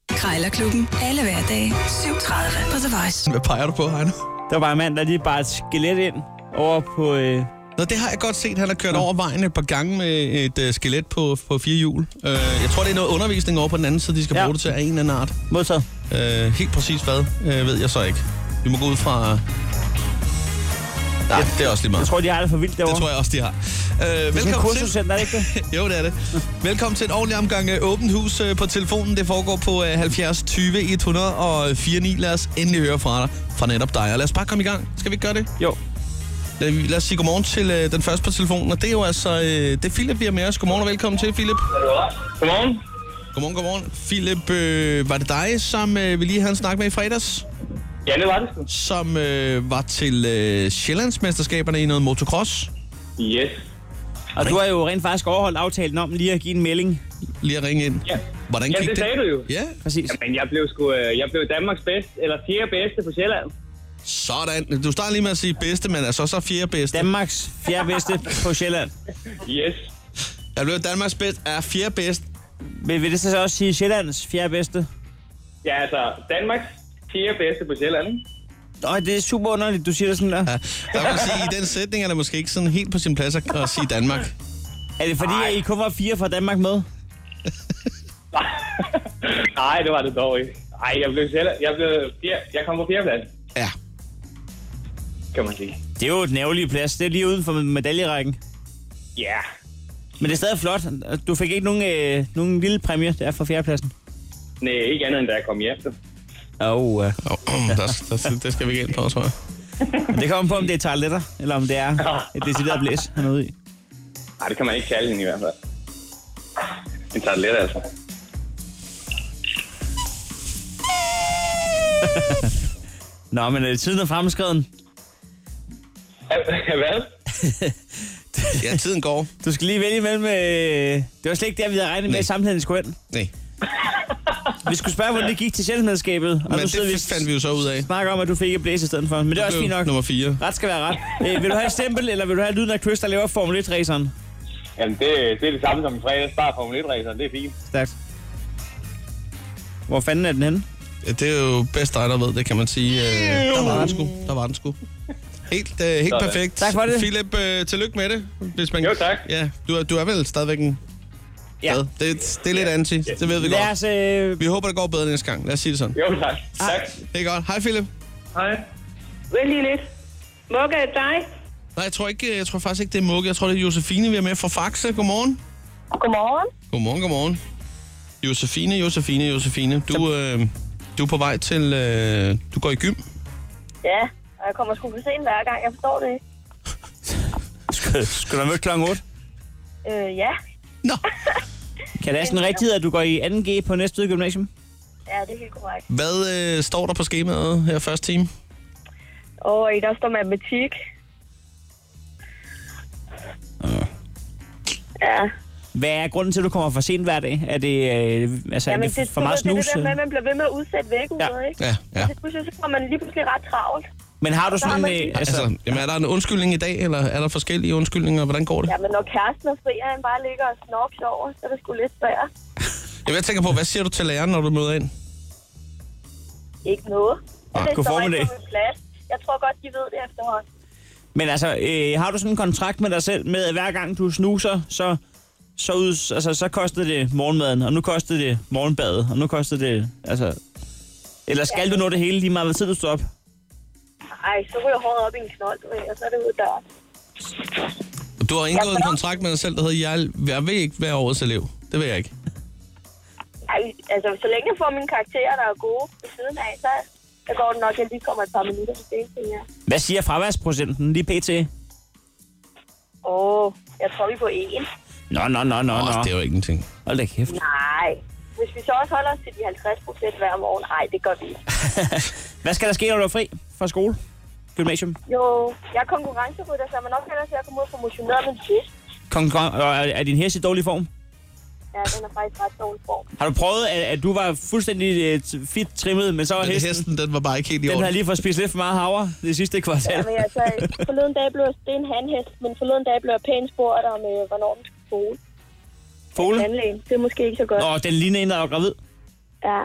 C: Krejlerklubben. Alle hverdage 7.30 på The Voice.
B: Hvad peger du på, Heino?
D: Der var bare en mand, der lige bare et skelet ind over på... Øh...
B: Nå, det har jeg godt set. Han har kørt over vejen et par gange med et øh, skelet på, på fire hjul. Øh, jeg tror, det er noget undervisning over på den anden side, de skal ja. bruge det til af en eller anden art.
D: Modtaget.
B: Øh, helt præcis hvad, øh, ved jeg så ikke. Vi må gå ud fra... Nej, det er også lige meget.
D: Jeg tror, de har det for vildt derovre.
B: Det tror jeg også, de har. Øh,
D: sådan et
B: velkommen til...
D: kursuscenter, er det ikke
B: det? jo, det er det. Velkommen til en ordentlig omgang øh, åbent hus øh, på telefonen. Det foregår på øh, 70 20 104 9. Lad os endelig høre fra dig, fra netop dig. Og lad os bare komme i gang. Skal vi ikke gøre det?
D: Jo.
B: Lad, lad os sige godmorgen til øh, den første på telefonen. Og det er jo altså... Øh, det er Philip, vi har med os. Godmorgen og velkommen til, Philip.
L: Godmorgen.
B: Godmorgen, godmorgen. Philip, øh, var det dig, som øh, vi lige havde en snak med i fredags?
L: Ja, det var
B: det. Som øh, var til øh, Sjællandsmesterskaberne i noget motocross?
L: Yes.
D: Og du har jo rent faktisk overholdt aftalen om lige at give en melding.
B: Lige at ringe ind.
M: Ja.
B: Hvordan
M: ja,
B: gik
M: det,
B: det?
M: sagde du jo.
B: Ja,
D: præcis.
M: Jamen, jeg blev sgu, øh, jeg blev Danmarks bedste, eller fjerde bedste på Sjælland.
B: Sådan. Du starter lige med at sige bedste, men altså så fjerde bedste.
D: Danmarks fjerde bedste på Sjælland.
M: Yes.
B: Jeg blev Danmarks bedste, er fjerde bedste.
D: Vil, vil det så også sige Sjællands fjerde bedste?
M: Ja, altså, Danmarks fjerde bedste på Sjælland, ikke?
D: Nå, det er super underligt, du siger det sådan der. Ja,
B: der må sige, i den sætning er det måske ikke sådan helt på sin plads at, at sige Danmark.
D: Er det fordi, at I kun var fire fra Danmark med?
M: Nej, det var det dog ikke. Nej, jeg blev Sjælland. Jeg, blev fjerde, jeg kom på fjerde plads.
B: Ja.
M: Kan man sige.
D: Det er jo et nævlige plads. Det er lige uden for medaljerækken.
M: Ja. Yeah.
D: Men det er stadig flot. Du fik ikke nogen, øh, nogen lille præmie der fra fjerdepladsen.
M: Nej, ikke andet end da jeg kom hjem.
D: Åh, oh, uh.
B: oh, der, der, det skal vi ikke ind på, tror jeg.
D: Det kommer på, om det er toiletter, eller om det er et decideret blæs, han er ude i.
M: Nej, det kan man ikke kalde hende i hvert fald. En tager det let, altså.
D: Nå, men øh, tiden er fremskreden.
M: Hvad?
B: ja, tiden går.
D: Du skal lige vælge mellem... Øh, det var slet ikke der, vi havde regnet med, at samtalen skulle hen.
B: Nej.
D: Vi skulle spørge, hvordan det gik til sjældentmedskabet.
B: Men det fandt vi jo så ud af.
D: Snakker om, at du fik et blæs i stedet for. Men det er
B: Du
D: også
B: blev
D: fint nok.
B: nummer fire.
D: Ret skal være ret. Øh, vil du have et stempel, eller vil du have lyden af Chris, der laver Formel 1-raceren?
M: Jamen, det, det er det samme som i fredags. Bare Formel 1-raceren, det er fint.
D: Stærkt. Hvor fanden er den henne?
B: Ja, det er jo bedst dig, der ved det, kan man sige. Øh, Der var den sgu. Der var den sgu. Helt, øh, helt
M: Sådan.
B: perfekt.
M: Tak for det.
B: Philip, øh, tillykke med det. Hvis man,
M: Jo, tak.
B: Ja, du, er- du er vel stadigvæk en...
D: Ja.
B: Det, det er lidt anti, det ved vi
D: Lad
B: godt.
D: os, øh...
B: Vi håber, det går bedre næste gang. Lad os sige det sådan.
M: Jo, tak.
B: Tak. Det er godt. Hej, Philip.
L: Hej. Vent lige lidt. Mugge er det dig?
B: Nej, jeg tror, ikke, jeg tror faktisk ikke, det er Mugge. Jeg tror, det er Josefine, vi er med fra Faxe. Godmorgen.
L: Godmorgen.
B: Godmorgen, godmorgen. Josefine, Josefine, Josefine. Du, øh, du er på vej til... Øh, du går i gym.
N: Ja, og jeg kommer sgu for sent hver gang, jeg forstår det ikke.
D: Skal, skal du møde kl. 8?
N: Øh, ja.
D: Kan det være sådan rigtigt, at du går i 2G på næste gymnasium?
N: Ja, det er helt korrekt.
B: Hvad øh, står der på skemaet her første time?
N: Og i der står matematik. Ja,
D: Hvad er grunden til, at du kommer for sent hver dag? Er det, øh, altså, er det, for- for
N: du
D: meget snus?
N: ved,
D: øh.
N: Det er det der med, at man bliver ved med at udsætte vækkeuret, ja. ikke?
B: Ja, ja.
N: Og så pludselig så kommer man lige pludselig ret travlt.
D: Men har du
N: Så har
D: sådan
N: man
D: en...
N: lige-
D: Øh, altså,
B: Altså, jamen, er der en undskyldning i dag, eller er der forskellige undskyldninger? Hvordan går det?
N: Ja, men når kæresten er fri, og han bare ligger og snorks over, så er det sgu lidt svært.
B: Jamen, jeg tænker på, hvad siger du til læreren, når du møder ind?
N: Ikke noget.
D: Ah,
N: det
D: god
N: står ikke
D: formiddag.
N: på min plads. Jeg tror godt, de ved det efterhånden.
D: men altså, øh, har du sådan en kontrakt med dig selv med, at hver gang du snuser, så, så, ud, altså, så koster det morgenmaden, og nu koster det morgenbadet, og nu koster det... Altså, eller skal du nå det hele lige meget, hvad tid du står op?
N: Ej, så ryger håret op i en knold, du ved, og så er det ud af døren.
B: Du har indgået en kontrakt med dig selv, der hedder, jeg, jeg vil ikke være årets elev. Det vil jeg ikke.
N: Ej, altså, så længe jeg får mine karakterer, der er gode ved siden af, så så går det nok, at jeg lige kommer et par minutter til det, tænker jeg.
D: Hvad siger fraværsprocenten lige pt?
N: Åh, jeg tror, vi er på en.
D: Nå, nå, nå, nå, nå.
B: Det er jo ingenting.
D: Hold da kæft.
N: Nej. Hvis vi så også holder os til de 50 procent hver morgen, ej, det gør vi ikke.
D: Hvad skal der ske, når du er fri fra skole? Gymnasium?
N: Jo, jeg er konkurrencerytter, så man nok hellere til at komme ud og få motioneret med en fisk.
D: Konkurren- og er, er din hest i dårlig form?
N: Ja, den er faktisk ret dårlig form.
D: Har du prøvet, at, at du var fuldstændig øh, t- fit trimmet, men så var
B: Men
D: hesten...
B: hesten, den var bare ikke helt i
D: Den
B: orden.
D: har lige fået spist lidt for meget havre det sidste
N: Ja,
D: kvartal.
N: men altså, forleden dag blev jeg- det er en handhest, men forleden dag blev jeg pænt spurgt om, øh, hvornår den skulle fole.
D: Fole?
N: Tandlægen. Det er måske ikke så godt.
D: Nå, den ligner en, der er gravid.
N: Ja.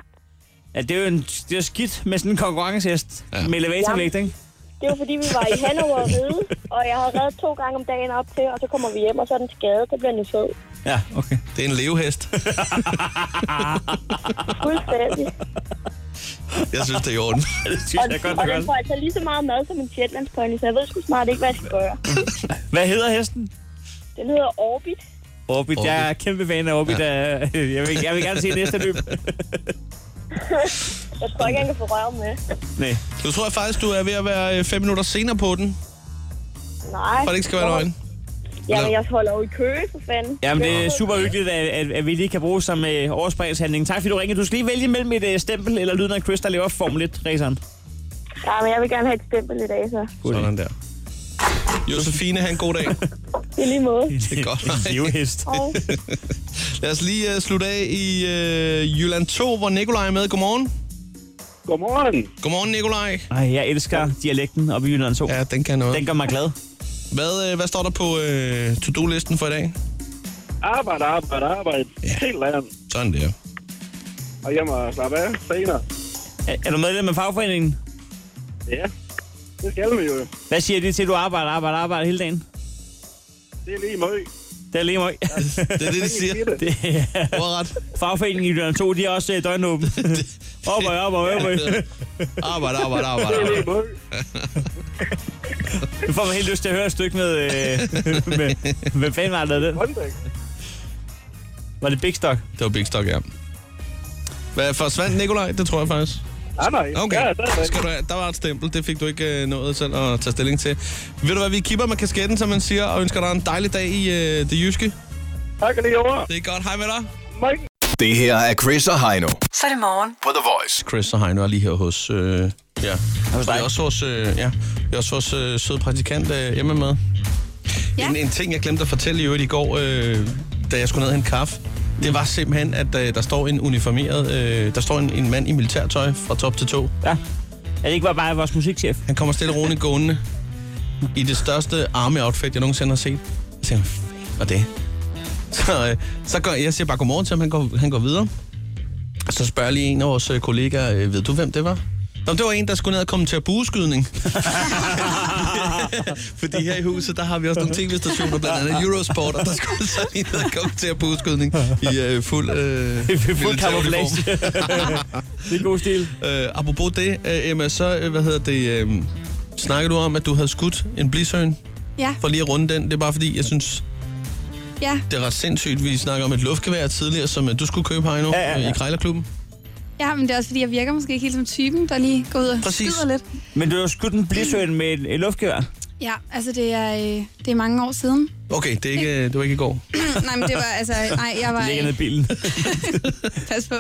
D: Ja, det er jo en, det er jo skidt med sådan en konkurrencehest ja. med elevatorvægt, ikke?
N: Det var fordi, vi var i Hannover og ride, og jeg havde reddet to gange om dagen op til, og så kommer vi hjem, og så er den skadet, så bliver den fed.
D: Ja, okay.
B: Det er en levehest.
N: Fuldstændig.
B: Jeg synes, det er i orden.
D: det
N: og, og den får altså lige så meget mad som en Shetlandspony, så jeg ved sgu snart ikke, hvad jeg skal gøre.
D: Hvad hedder hesten?
N: Den hedder Orbit.
D: Orbit. Orbit. Jeg er kæmpe fan af Orbit. Ja. Jeg, vil, jeg vil gerne se næste løb.
N: jeg tror ikke, jeg kan få røv med.
D: Nej.
B: Nu tror jeg faktisk, du er ved at være øh, fem minutter senere på den,
N: Nej.
B: for det ikke skal være løgn.
N: Jamen, jeg holder jo i kø, for fanden.
D: Jamen, det er super hyggeligt, at, at, at vi lige kan bruge som øh, overspringshandling. Tak fordi du ringede. Du skal lige vælge mellem et øh, stempel eller lyden af Chris, der lever Formel 1-raceren.
N: Ja, men jeg vil gerne have et stempel i dag, så.
B: Sådan der. Josefine, have en god dag.
N: I lige måde.
B: Det er godt. En
D: livhest.
B: Lad os lige uh, slutte af i uh, Jylland 2, hvor Nikolaj er med. Godmorgen.
I: Godmorgen.
B: Godmorgen, Nikolaj.
D: Ej, jeg elsker dialekten oppe i Jylland 2.
B: Ja, den kan noget.
D: Den gør mig glad.
B: Hvad, øh, hvad står der på uh, to-do-listen for i dag?
I: Arbejde, arbejde, arbejde. Ja. Helt land.
B: Sådan der.
I: Og jeg må slappe af senere.
D: Er, er du medlem af fagforeningen?
I: Ja. Det skal vi jo.
D: Hvad siger de til, at du arbejder, arbejder, arbejder hele dagen?
I: Det er lige møg.
D: Det er lige møg. det
B: er det, de siger.
D: Det er
B: ret.
D: Fagforeningen i Jylland 2, de er også øh, døgnåben. Arbejde, arbejde, arbejde.
B: Arbejde, arbejde, arbejde.
I: Det
B: arbejde.
I: er lige møg.
D: Nu får man helt lyst til at høre et stykke med... Øh, med hvem fanden var der det?
I: Håndtryk.
D: Var det Big Stock?
B: Det var Big Stock, ja. Hvad forsvandt, Nikolaj? Det tror jeg faktisk.
I: Nej, nej.
B: Okay,
I: Ja, stadigvæk.
B: Skal du, have- der var et stempel. Det fik du ikke uh, nået selv at tage stilling til. Ved du hvad, vi kipper med kasketten, som man siger, og ønsker dig en dejlig dag i uh, det jyske.
I: Tak lige over.
B: Det er godt. Hej med dig.
E: Det her er Chris og Heino.
C: Så er det morgen.
E: På The Voice.
B: Chris og Heino er lige her hos... Øh, ja. Hos dig. Vi er også vores, øh, ja, vi er også vores øh, søde praktikant øh, hjemme med. Ja. En, en ting, jeg glemte at fortælle i øvrigt i går, øh, da jeg skulle ned og hente kaffe, det var simpelthen, at øh, der står en uniformeret... Øh, der står en, en mand i militærtøj fra top til to.
D: Ja. Er det ikke bare, bare vores musikchef?
B: Han kommer stille og roligt gående i det største army-outfit, jeg nogensinde har set. Jeg tænker, hvad det? Så, øh, så går, jeg siger bare godmorgen til ham, han går, han går videre. Og så spørger jeg lige en af vores øh, kollegaer, øh, ved du hvem det var? Nå, men det var en, der skulle ned og komme til at bueskydning. Fordi her i huset, der har vi også nogle tv-stationer, blandt andet Eurosport, og der skulle så lige ned og komme til at bueskydning i øh, fuld, øh,
D: Fuld
B: militæruniform.
D: camouflage. det er god stil.
B: Øh, apropos det, øh, Emma, så øh, hvad hedder det, øh, snakker du om, at du havde skudt en blisøen?
F: Ja,
B: For lige at runde den, det er bare fordi, jeg synes,
F: ja,
B: det er ret sindssygt. Vi snakker om et luftgevær tidligere, som øh, du skulle købe her endnu
D: Ja, ja, ja.
B: øh, i Krejlerklubben.
F: ja, men det er også fordi, jeg virker måske ikke helt som typen, der lige går ud og
B: Præcis.
F: skyder lidt.
D: Men du har skudt en blisøen med et, et luftgevær.
F: Ja, altså det er, øh, det er mange år siden.
B: Okay, det, er ikke, øh, det var ikke i går.
F: nej, men det var altså... Nej, jeg var...
D: Ligger ned i bilen.
F: Pas på.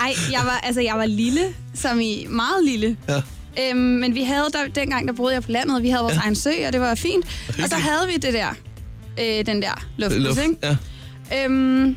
F: Ej, jeg var, altså, jeg var lille, som i meget lille.
B: Ja.
F: Øhm, men vi havde, der, dengang der boede jeg på landet, og vi havde vores ja. egen sø, og det var fint. Og så havde vi det der, øh, den der luftbus,
B: Luft-
F: ikke?
B: Ja.
F: Øhm,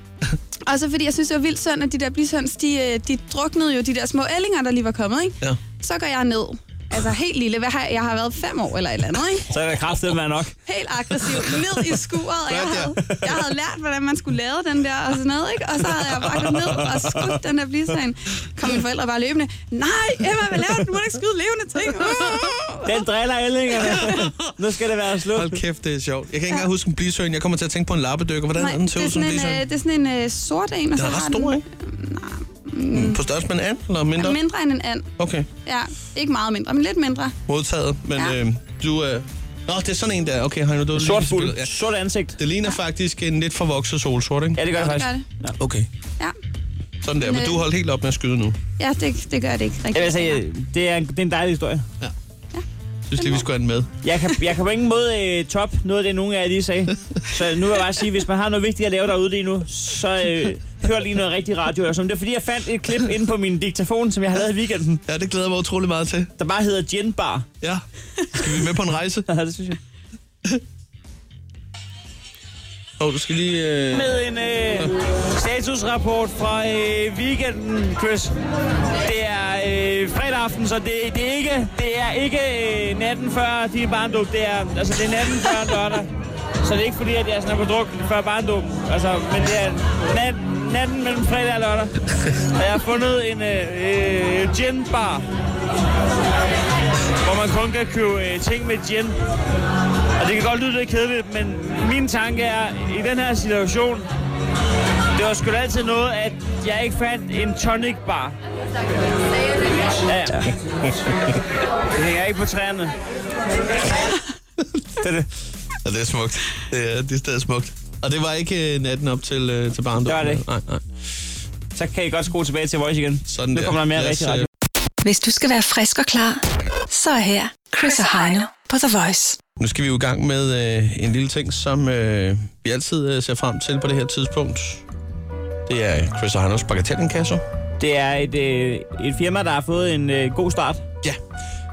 F: og så fordi jeg synes, det var vildt synd, at de der blishøns, de, øh, de druknede jo de der små ællinger, der lige var kommet, ikke?
B: Ja.
F: Så går jeg ned. Altså helt lille. Hvad har, jeg har været fem år eller et eller andet, ikke?
D: Så er det kraftet, man nok.
F: Helt aggressivt. Ned i skuret. Og jeg havde, jeg havde lært, hvordan man skulle lave den der og sådan noget, ikke? Og så havde jeg bare gået ned og skudt den der blishøn. Kom mine forældre bare løbende. Nej, Emma, hvad laver du? Du må da ikke skyde levende ting.
D: Den driller ællingerne. nu skal det være slut.
B: Hold kæft, det er sjovt. Jeg kan ikke engang huske en blisøen. Jeg kommer til at tænke på en lappedykker. Hvordan er den
F: det,
B: til
F: er
B: som
F: sådan en, øh,
B: blisøen?
F: det er sådan en øh, sort en. Og
B: Den
F: så
B: er ret
F: har
B: stor,
F: den-
B: ikke?
F: øh,
B: Mm, På størrelse med en and, eller mindre?
F: Mindre end en and.
B: Okay,
F: Ja, ikke meget mindre, men lidt mindre.
B: modtaget. Men øh, du... Øh... Nå, det er sådan en der. Okay, Heino, du
D: Sort fuld.
B: Ja. Sort ansigt. Det ligner faktisk en lidt for vokset solsort, ikke?
D: Ja, det gør det
F: Ja, det faktisk.
B: det. Okay.
F: Ja.
B: Sådan der,
F: Men,
B: men du
F: øh,
B: holdt helt op med at skyde nu.
F: Ja, det, det gør det ikke rigtigt.
D: altså, Jeg vil sige, det er, en- det er en dejlig historie. Ja.
B: Jeg synes lige, vi skulle have den med.
D: Jeg kan, jeg kan på ingen måde øh, top noget af det, nogen af jer lige sagde. Så nu vil jeg bare sige, hvis man har noget vigtigt at lave derude lige nu, så øh, hør lige noget rigtig radio. Eller sådan. Det er fordi, jeg fandt et klip inde på min diktafon, som jeg har lavet i weekenden.
B: Ja, det glæder jeg mig utrolig meget til.
D: Der bare hedder Gin Bar.
B: Ja. Skal vi med på en rejse?
D: ja, det synes jeg.
B: Åh, oh, du skal lige... Øh...
D: Med en øh, statusrapport fra øh, weekenden, Chris. Det er øh, fredag aften, så det, det, er ikke, det er ikke øh, natten før de barndåb. Det er, altså, det er natten før lørdag. Så det er ikke fordi, at jeg sådan er på druk før barndåb. Altså, men det er nat, natten mellem fredag og lørdag. Og jeg har fundet en øh, øh, gin bar, hvor man kun kan købe øh, ting med gin. Og det kan godt lyde lidt kedeligt, men min tanke er, i den her situation, det var sgu da altid noget, at jeg ikke fandt en tonic bar. Ja, ja. Det hænger ikke på træerne.
B: det, er det. Ja, det er smukt. Det er, det er stadig smukt. Og det var ikke øh, natten op til, øh, til barndom?
D: Det var det ikke.
B: Nej, nej.
D: Så kan I godt skrue tilbage til Voice igen.
B: Sådan
D: Nu
B: der.
D: kommer der mere
B: Lad os, øh,
D: rigtig radio.
C: Hvis du skal være frisk og klar, så er her Chris og Heino på The Voice.
B: Nu skal vi jo i gang med øh, en lille ting, som øh, vi altid øh, ser frem til på det her tidspunkt. Det er Chris og Heinos bagatellenkasse.
D: Det er et, øh, et firma, der har fået en øh, god start.
B: Ja.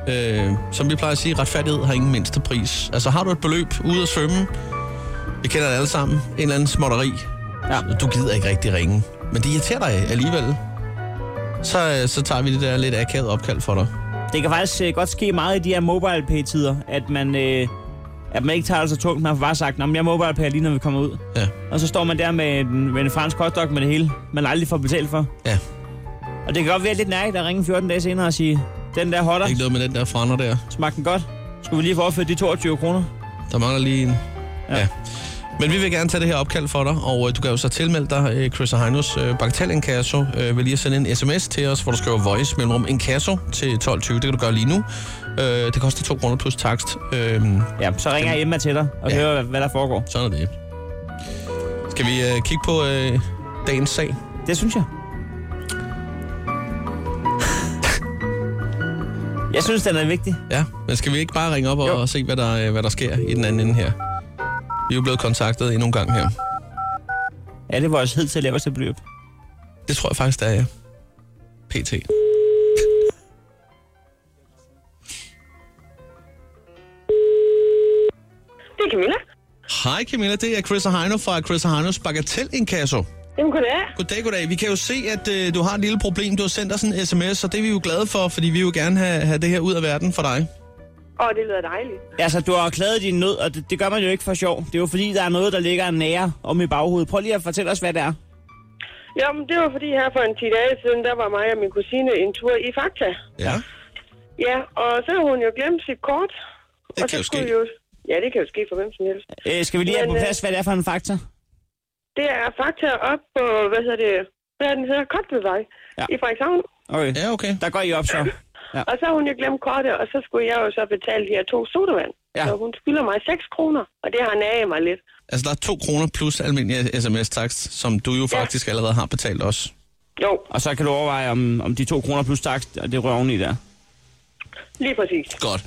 B: Øh, som vi plejer at sige, retfærdighed har ingen mindste pris. Altså har du et beløb ude at svømme, vi kender det alle sammen, en eller anden småtteri,
D: ja.
B: du gider ikke rigtig ringe, men det irriterer dig alligevel, så, øh, så tager vi det der lidt akavet opkald for dig.
D: Det kan faktisk øh, godt ske meget i de her mobile pay tider at man, øh, at man ikke tager det så tungt. Man har bare sagt, at jeg mobile pay lige, når vi kommer ud.
B: Ja.
D: Og så står man der med en, med en fransk hotdog med det hele, man aldrig får betalt for.
B: Ja.
D: Og det kan godt være lidt nærigt at ringe 14 dage senere og sige, den der hotter,
B: Ikke noget med den der frander der.
D: smagte den godt. Skulle vi lige få opført de 22 kroner?
B: Der mangler lige en... Ja. ja. Men vi vil gerne tage det her opkald for dig, og øh, du kan jo så tilmelde dig øh, Chris og Heinos øh, bagatellinkasso øh, ved lige at sende en sms til os, hvor du skriver voice mellemrum inkasso til 12.20. Det kan du gøre lige nu. Øh, det koster 2 kroner plus takst. Øh,
D: ja, så ringer Emma til dig og ja. hører, hvad, hvad der foregår.
B: Sådan er det. Skal vi øh, kigge på øh, dagens sag?
D: Det synes jeg. Jeg synes, den er vigtig.
B: Ja, men skal vi ikke bare ringe op og, og se, hvad der, øh, hvad der sker i den anden ende her? Vi er jo blevet kontaktet endnu en gang her.
D: Er det vores hidtil laveste beløb?
B: Det tror jeg faktisk, det er, ja. PT.
J: Det er Camilla.
B: Hej Camilla, det er Chris og Heino fra Chris og Heinos Bagatell Inkasso.
J: Jamen, goddag.
B: Goddag, goddag. Vi kan jo se, at øh, du har et lille problem. Du har sendt os en sms, og det er vi jo glade for, fordi vi vil jo gerne have, have det her ud af verden for dig.
J: Åh, det lyder dejligt.
D: Altså, du har klaget din nød, og det, det gør man jo ikke for sjov. Det er jo fordi, der er noget, der ligger nære om i baghovedet. Prøv lige at fortælle os, hvad det er.
J: Jamen, det var fordi her for en 10 dage siden, der var mig og min kusine en tur i Fakta.
B: Ja.
J: Ja, og så har hun jo glemt sit kort. Det og
D: kan
J: så
D: jo
J: skulle
D: ske.
J: vi Jo... Ja, det kan jo ske for hvem som helst.
D: Øh, skal vi lige have
J: Men,
D: på
J: øh,
D: plads, hvad det er for en faktor?
J: Det er Fakta op på, hvad hedder det, hvad er den hedder, Kotlevej ja. i Frederikshavn.
D: Okay.
B: Ja, okay.
D: Der går I op, så. Ja.
J: Og så har hun jo glemt kortet, og så skulle jeg jo så betale de her to sodavand.
D: Ja.
J: Så hun skylder mig 6 kroner, og det har naget mig lidt.
B: Altså, der er to kroner plus almindelig sms-takst, som du jo faktisk allerede har betalt os.
J: Jo.
D: Og så kan du overveje, om, om de to kroner plus takst, og det rører oveni der.
J: Lige præcis.
B: Godt.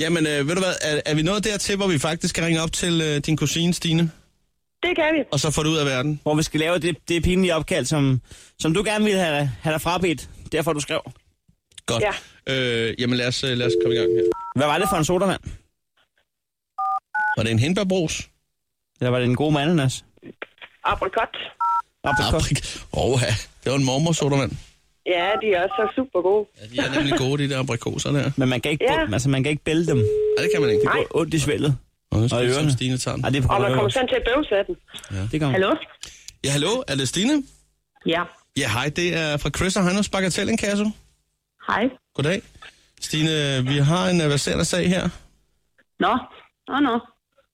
B: Jamen, øh, ved du hvad, er, er vi nået dertil, hvor vi faktisk kan ringe op til øh, din kusine, Stine?
J: Det kan vi.
B: Og så få det ud af verden.
D: Hvor vi skal lave det, det pinlige opkald, som, som du gerne ville have, have dig frabedt. Derfor du skrev.
B: Godt. Ja. Øh, jamen, lad os, øh, lad os komme i gang her.
D: Hvad var det for en sodavand?
B: Var det en hindbærbrus?
D: Eller var det en god med ananas?
J: aprikot.
B: Aprikot. Åh, ja. Det var en mormor sodavand.
J: Ja, de er også super gode.
B: De er nemlig gode, de der aprikoser der.
D: Men man kan ikke,
J: Ja.
D: ja. altså, man kan ikke bælge dem.
B: Ja, det kan man ikke.
D: Det går ondt i svældet.
B: Og,
D: i
B: det er som
D: ørerne.
B: Stine tager den.
D: Ej, det er på
J: Og
D: grund af
J: man kommer
D: ører.
J: sådan til at bøvse af den.
B: Ja.
D: Det gør man.
J: Hallo?
B: Ja, hallo, er det Stine?
J: Ja.
B: Ja, hej, det er fra Chris og Heinos Bagatell Inkasso.
J: Hej.
B: Goddag. Stine, vi har en øh, verserende sag her.
J: Nå, nå, nå.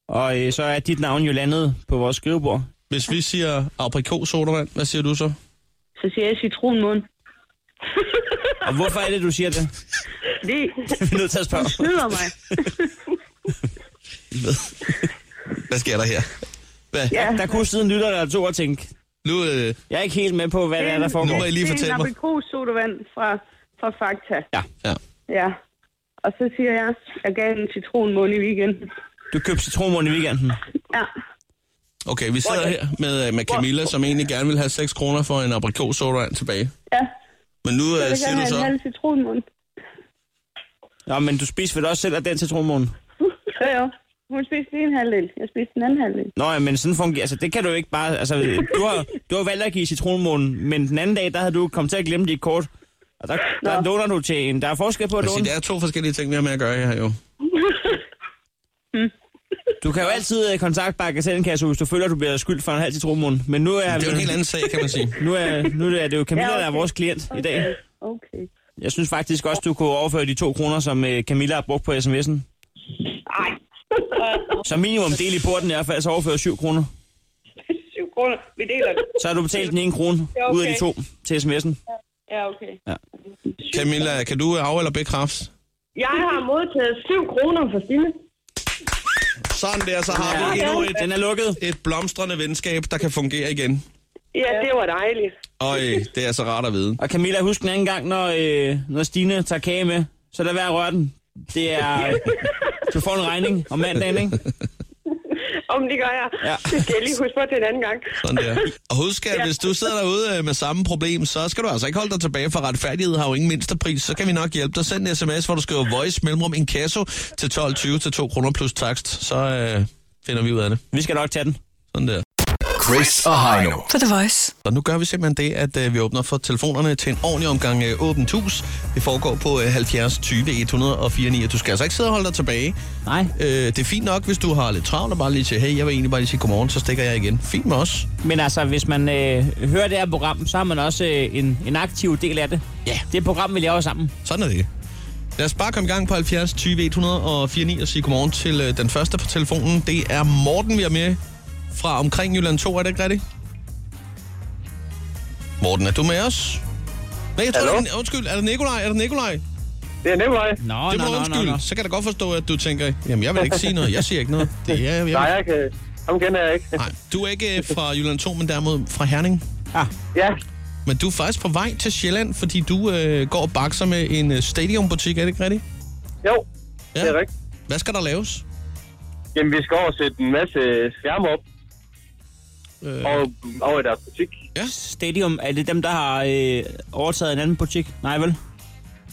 D: Og øh, så er dit navn jo landet på vores skrivebord.
B: Hvis vi siger aprikosodavand, hvad siger du så?
J: Så siger jeg citronmund.
D: Og hvorfor er det, du siger det?
J: Det
D: Vi er nødt til at spørge.
J: snyder mig.
B: Hvad? Hvad sker der her? Hvad?
D: Ja. Der kunne siden lytter der to og tænke.
B: Nu, øh,
D: Jeg er ikke helt med på, hvad det er, der foregår.
B: Nu må I lige fortælle mig.
J: Det er en sodavand fra, fra Fakta.
D: Ja.
B: Ja.
J: Ja. Og så siger jeg, jeg gav en citronmund i weekenden.
D: Du købte citronmund i weekenden.
J: Ja.
B: Okay, vi sidder her med, øh, med Camilla, som egentlig gerne vil have 6 kroner for en aprikosodavand tilbage.
J: Ja.
B: Men nu
J: Så
B: øh,
J: vil jeg
B: siger
J: have
B: du
J: en
B: så...
J: halv citronmund.
D: Nå, men du spiser vel også selv af den citronmund?
J: Jo, jo. Hun spiste lige en halvdel. Jeg spiste den anden halvdel.
D: Nå, ja, men sådan fungerer... Altså, det kan du jo ikke bare... Altså, du har, du har valgt at give citronmunden, men den anden dag, der havde du kommet til at glemme dit kort. Og der, der låner du til en. Der er forskel på at
B: Altså,
D: låne.
B: det er to forskellige ting, vi har med at gøre her, jo.
D: Du kan jo altid øh, kontakte bagatellenkasse, hvis du føler, du bliver skyldt for en halv citronmund. Men nu er...
B: Det er jo en helt anden sag, kan man sige.
D: Nu er, nu er det jo Camilla,
J: Ja,
D: der er
J: okay.
D: vores klient i dag.
J: Okay.
D: Jeg synes faktisk også, du kunne overføre de to kroner, som øh, Camilla har brugt på sms'en.
J: Ej.
D: Så minimum del i porten i hvert fald, så overføre 7 kroner.
J: Syv kroner. Vi deler det.
D: Så har du betalt den ene krone
J: Ja, okay.
D: ud af de to til sms'en.
J: Ja, okay.
B: Camilla, kan du øh, af- eller bekræfte?
J: Jeg har modtaget 7 kroner fra Stine.
B: Sådan der, så har vi
J: Ja.
B: endnu et,
D: Den er lukket.
B: et blomstrende venskab, der kan fungere igen.
J: Ja, det var dejligt.
B: Og øh, det er så rart at vide.
D: Og Camilla, husk den anden gang, når, øh, når Stine tager kage med, så lad være at røre den. Det er... Du får en regning om mandagen, ikke?
J: Om det gør jeg.
D: Ja.
J: Det skal jeg lige huske på til en anden gang.
B: Sådan der. Og husk, at hvis du sidder derude øh, med samme problem, så skal du altså ikke holde dig tilbage, for retfærdighed har jo ingen mindste pris. Så kan vi nok hjælpe dig. Send en sms, hvor du skriver voice mellemrum inkasso til 12.20 til 2 kroner plus takst. Så øh, finder vi ud af det.
D: Vi skal nok tage den.
B: Sådan der.
E: Chris og Heino.
C: På The Voice.
B: Og nu gør vi simpelthen det, at øh, vi åbner for telefonerne til en ordentlig omgang øh, åbent hus. Det foregår på øh, 70 20 104 9. Du skal altså ikke sidde og holde dig tilbage.
D: Nej.
B: Øh, det er fint nok, hvis du har lidt travlt og bare lige siger, hey, jeg vil egentlig bare lige sige godmorgen, så stikker jeg igen. Fint med os.
D: Men altså, hvis man øh, hører det her program, så har man også øh, en, en aktiv del af det.
B: Ja.
D: Det program, vi laver sammen.
B: Sådan er det. Lad os bare komme i gang på 70 20 104 9 og sige godmorgen til øh, den første på telefonen. Det er Morten, vi er med fra omkring Jylland 2, er det ikke rigtigt? Morten, er du med os? Nej, jeg tror,
I: Hallo?
B: det er, undskyld, er det Nikolaj? Er det Nikolaj?
I: Det er Nikolaj.
D: Nå,
B: det
D: nå,
B: må
D: nå,
B: undskylde.
D: nå, nå.
B: Så kan jeg da godt forstå, at du tænker, jamen jeg vil ikke sige noget, jeg siger ikke noget. Det er, jeg,
I: Nej,
B: jeg.
I: jeg kan... Ham kender jeg ikke.
B: Nej, du er ikke øh, fra Jylland 2, men derimod fra Herning.
D: Ah,
I: Ja,
B: Men du er faktisk på vej til Sjælland, fordi du øh, går og bakser med en øh, stadionbutik, er det ikke rigtigt?
I: jo.
B: Ja.
I: Det er rigtigt.
B: Hvad skal der laves?
I: Jamen, vi skal over og sætte en masse skærme op
B: Øh,
I: og over i deres butik.
D: Stadium, er det dem, der har øh, overtaget en anden butik? Nej, vel?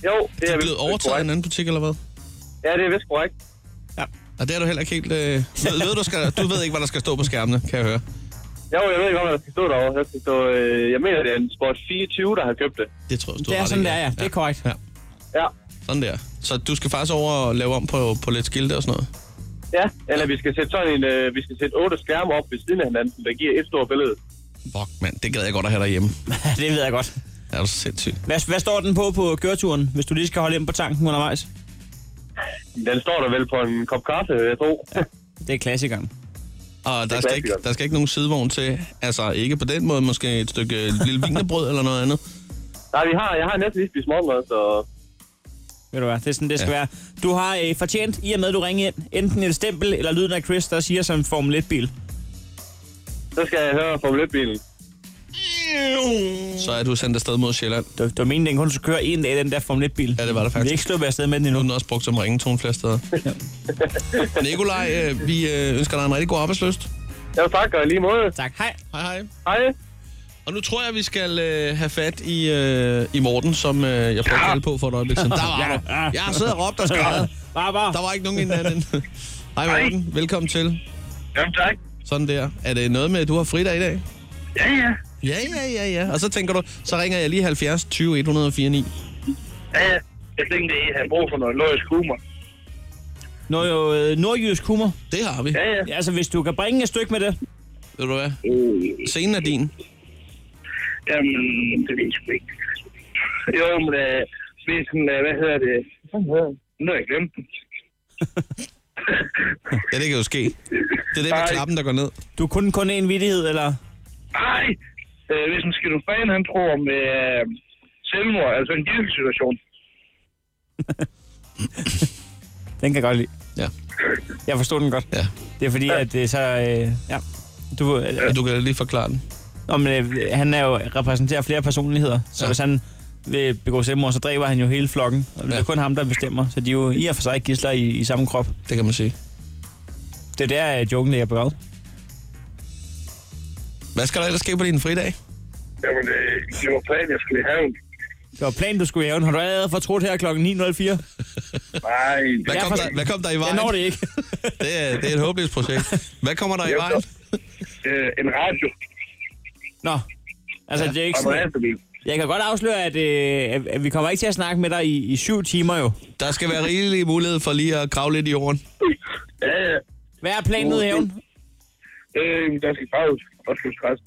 I: Jo, det
B: det
I: er
B: er blevet
I: vist- vist
B: overtaget af en
I: korrekt.
B: anden butik, eller hvad?
I: Ja, det er vist korrekt.
B: Og det er du heller ikke helt... Øh, ved, ved du, skal, du ved ikke, hvad der skal stå på skærmene, kan jeg høre.
I: Jo, jeg ved ikke, hvad der skal stå derovre. Der skal stå, øh, jeg mener, det er en Sport 24, der har købt det.
B: Det tror jeg, du
D: Det
B: har
D: er
B: ret
D: sådan,
B: i,
D: det er, ja. Det er korrekt.
B: Ja.
I: Ja,
B: Sådan der. Så du skal faktisk over og lave om på, på lidt skilte og sådan noget?
I: ja. Eller vi skal sætte sådan en, øh, vi skal sætte otte skærme op ved siden af hinanden, der giver et stort billede.
B: Fuck, mand. Det gad jeg godt at have derhjemme.
D: det ved jeg godt.
B: Er du sindssyg?
D: Hvad, hvad står den på på køreturen, hvis du lige skal holde ind på tanken undervejs?
I: Den står der vel på en kop kaffe, jeg tror. Ja.
D: Det er klassikeren.
B: Og der
I: er
B: skal, ikke,
I: klassikeren.
B: der skal ikke nogen sidevogn til. Altså, ikke på den måde. Måske et stykke øh, lille vinerbrød eller noget andet.
I: Nej, vi har, jeg har næsten lige spist morgenmad, så...
D: Ved du hvad, det er sådan, det skal
B: Ja.
D: ja. være. Du har øh, fortjent, i og med at du ringer ind, enten et stempel eller lyden af Chris, der siger som en Formel 1-bil.
I: Så skal jeg høre Formel 1-bilen.
B: Så er du sendt afsted mod Sjælland.
D: Du, du mente, den kun skulle køre en dag, den der Formel 1-bil.
B: Ja, det var det
D: Vi er
B: faktisk.
D: ikke sluppet afsted med den
B: Nu er
D: endnu.
B: den også brugt som ringetone flere steder. Nikolaj, øh, vi øh, ønsker dig en rigtig god arbejdsløst.
I: Ja, tak, og i lige måde.
D: Tak, hej.
B: Hej hej.
I: Hej.
B: Og nu tror jeg, vi skal øh, have fat i, øh, i Morten, som øh, jeg prøvede at kalde på for et øjeblik siden. Der var
D: Ja,
B: du.
D: ja.
B: Jeg har siddet og råbt og skrevet.
D: Bare, bare.
B: Der var ikke nogen inden anden. Hej Morten, velkommen til.
I: Jamen, tak.
B: Sådan der. Er det noget med, at du har fridag i dag?
J: Ja, ja.
B: Ja, ja, ja, ja. Og så tænker du, så ringer jeg lige 70 20 104 9.
J: Ja, ja. Jeg tænkte, at I havde brug for noget logisk humor.
D: Nå jo, øh, nordjysk humor.
B: Det har vi.
J: Ja, ja.
D: Altså, hvis du kan bringe et stykke med det.
B: Ved du hvad?
J: Øh.
B: Scenen er din.
J: Jamen, det ved jeg sgu ikke. Jo, men øh, vi er sådan, øh, hvad hedder det? Hvad fanden hedder det? Nu har jeg glemt den.
B: Ja, det kan jo ske. Det er det med
J: Nej.
B: klappen, der går ned.
D: Du kunne kun en vittighed, eller?
J: Nej! Øh, hvis en skidofan, han tror om øh, selvmord, altså en gisselsituation.
D: Den kan jeg godt lide.
B: Ja.
D: Jeg forstod den godt.
B: Ja.
D: Det er fordi, at det er så... Øh, ja. Du, øh,
B: Du kan lige forklare den.
D: Nå, men, øh, han er jo repræsenterer flere personligheder, så ja. hvis han vil begå selvmord, så dræber han jo hele flokken. Og det er kun ham, der bestemmer, så de er jo i og for sig gidsler i, i samme krop.
B: Det kan man sige.
D: Det er der, øh, joken ligger begravet.
B: Hvad skal der ellers ske på din fridag?
J: Jamen, øh, det var planen, jeg skulle i haven.
D: Det var planen, du skulle i haven. Har du allerede fortrudt her kl. 9.04?
J: Nej.
B: Hvad kom, der, hvad kom der i vejen?
D: Jeg når det ikke.
B: det, er, det er et håbløst projekt. Hvad kommer der i
J: Jeg
B: vejen?
J: Øh, en radio.
D: Nå. Altså, det er ikke
J: Og noget
D: sådan...
J: andet.
D: Jeg kan godt afsløre, at, øh, at- at vi kommer ikke til at snakke med dig i, i syv timer jo.
B: Der skal være rigelig mulighed for lige at grave lidt i jorden.
J: Ja, ja.
D: Hvad er planen ude i haven?
J: Øh, der skal graves og skal græs.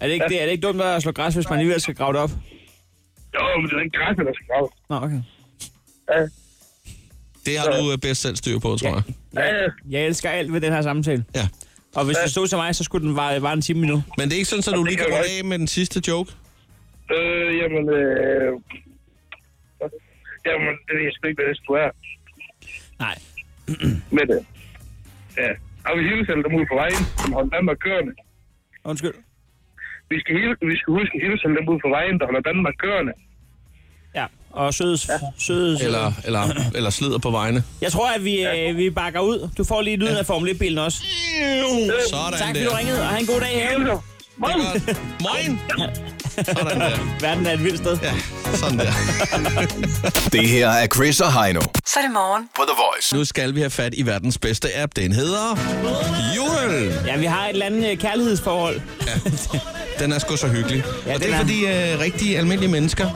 D: Er det ikke, det, er det ikke dumt at slå græs, hvis man alligevel skal grave det op?
J: Jo, men det er ikke græs, der skal graves.
D: Nå, okay.
J: Ja.
B: Det har du øh, bedst selv styr på, tror jeg.
D: Jeg, jeg elsker alt ved den her samtale.
B: Ja.
D: Og hvis det stod til mig, så skulle den vare, vare en time endnu.
B: Men det er ikke sådan, at du lige kan runde af med den sidste joke?
J: Øh, jamen, øh... Jamen, det ved jeg sgu ikke, hvad det skulle være.
D: Nej.
J: Men, øh, ja. Og vi hilser alle dem ude på vejen, som holder Danmark kørende.
D: Undskyld.
J: Vi skal, hil- vi skal huske at hilse alle dem ude på vejen, der holder Danmark kørende.
D: Ja, og søde... Ja. søde
B: Eller, eller, eller slider på vejene?
D: Jeg tror, at vi, øh, vi bakker ud. Du får lige lyden af Formel 1-bilen også.
B: Sådan
D: tak, fordi
B: der.
D: du ringede, og have en god dag i haven.
B: Moin! Sådan der.
D: Verden er et vildt sted.
B: Ja, sådan der.
E: Det her er Chris og Heino.
C: Så er det morgen.
E: På The Voice.
B: Nu skal vi have fat i verdens bedste app. Den hedder... Jodel!
D: Ja, vi har et eller andet øh, kærlighedsforhold.
B: Den er sgu så hyggelig. Ja,
D: Ja,
B: og det
D: den
B: er,
D: er.
B: fordi øh, rigtig almindelige mennesker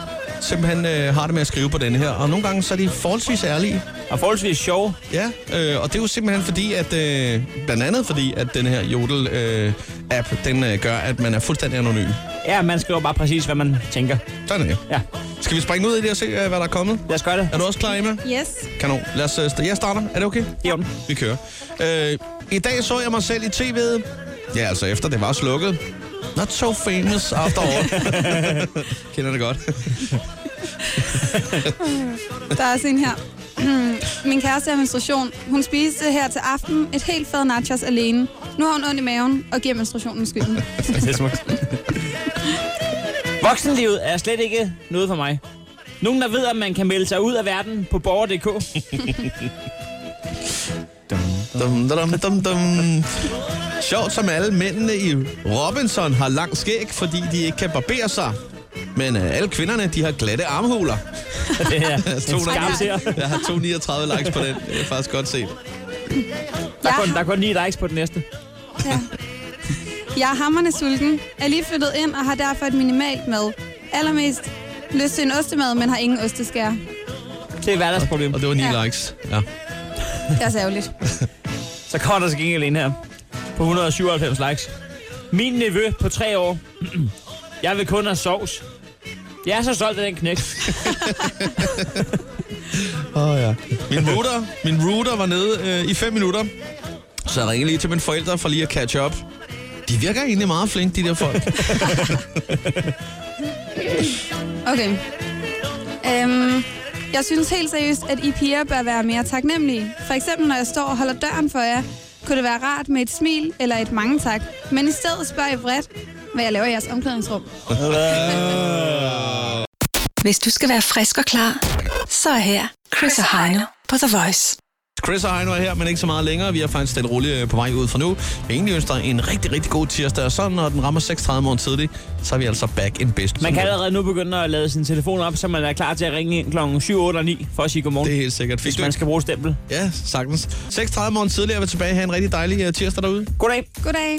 B: simpelthen øh, har det med at skrive på den her. Og nogle gange så er de forholdsvis ærlige.
D: Og forholdsvis sjov.
B: Ja, øh, og det er jo simpelthen fordi, at øh, blandt andet fordi, at den her Jodel-app, den øh, gør, at man er fuldstændig anonym.
D: Ja, man skriver bare præcis, hvad man tænker.
B: Sådan er det.
D: Ja.
B: Skal vi springe ud i det og se, øh, hvad der er kommet?
D: Lad os gøre det.
B: Er du også klar, Emma?
F: Yes.
B: Kanon. Lad os, øh, st- jeg starter. Er det okay?
D: Jo.
B: Vi kører. Øh, I dag så jeg mig selv i tv'et. Ja, altså efter det var slukket. Not so famous after all. Kender det godt.
F: Der er også en her. Min kæreste har menstruation. Hun spiste her til aften et helt fad nachos alene. Nu har hun ondt i maven og giver menstruationen skylden.
D: Det er smukt. Voksenlivet er slet ikke noget for mig. Nogen, der ved, at man kan melde sig ud af verden på borger.dk.
B: Dum, dum, dum, dum. Sjovt som alle mændene i Robinson har langt skæg, fordi de ikke kan barbere sig. Men øh, alle kvinderne, de har glatte armhuler.
D: Det er
B: To
D: en skarp
B: der-
D: ser.
B: Jeg har 239 likes på den. Det er faktisk godt set.
D: Der er kun, der er kun ni likes på den næste.
F: Ja. Jeg er hammerne sulten, er lige flyttet ind og har derfor et minimalt mad. Allermest lyst til en ostemad, men har ingen osteskær.
D: Det er et hverdagsproblem.
B: Og det var 9
F: Ja.
B: likes. Ja.
F: Det er særligt.
D: Så kommer der til gengæld en her på 197 likes. Min nevø på tre år. Jeg vil kun have sovs. Jeg er så stolt af den knæk.
B: Oh, ja. Min router, min router var nede øh, i 5 minutter, så jeg ringede lige til mine forældre for lige at catch up. De virker egentlig meget flinke, de der folk.
F: Okay. Øhm, jeg synes helt seriøst, at I piger bør være mere taknemmelige. For eksempel, når jeg står og holder døren for jer, kunne det være rart med et smil eller et mange tak. Men i stedet spørger I vredt, hvad jeg laver i jeres omklædningsrum.
C: Hvis du skal være frisk og klar, så er her Chris og Heino på The Voice.
B: Chris og Heino er her, men ikke så meget længere. Vi er faktisk stille roligt øh, på vej ud fra nu. Vi egentlig ønsker en rigtig, rigtig god tirsdag, og så når den rammer 6.30 morgen tidligt, så er vi altså back in business.
D: Man kan allerede nu begynde at lade sin telefon op, så man er klar til at ringe ind klokken 7, 8 og 9 for at sige godmorgen. Det
B: er helt sikkert.
D: Hvis man skal bruge stempel.
B: Ja, sagtens. 6.30 morgen tidligt er vi tilbage. Ha' en rigtig dejlig øh, tirsdag derude.
D: Goddag.
F: Goddag.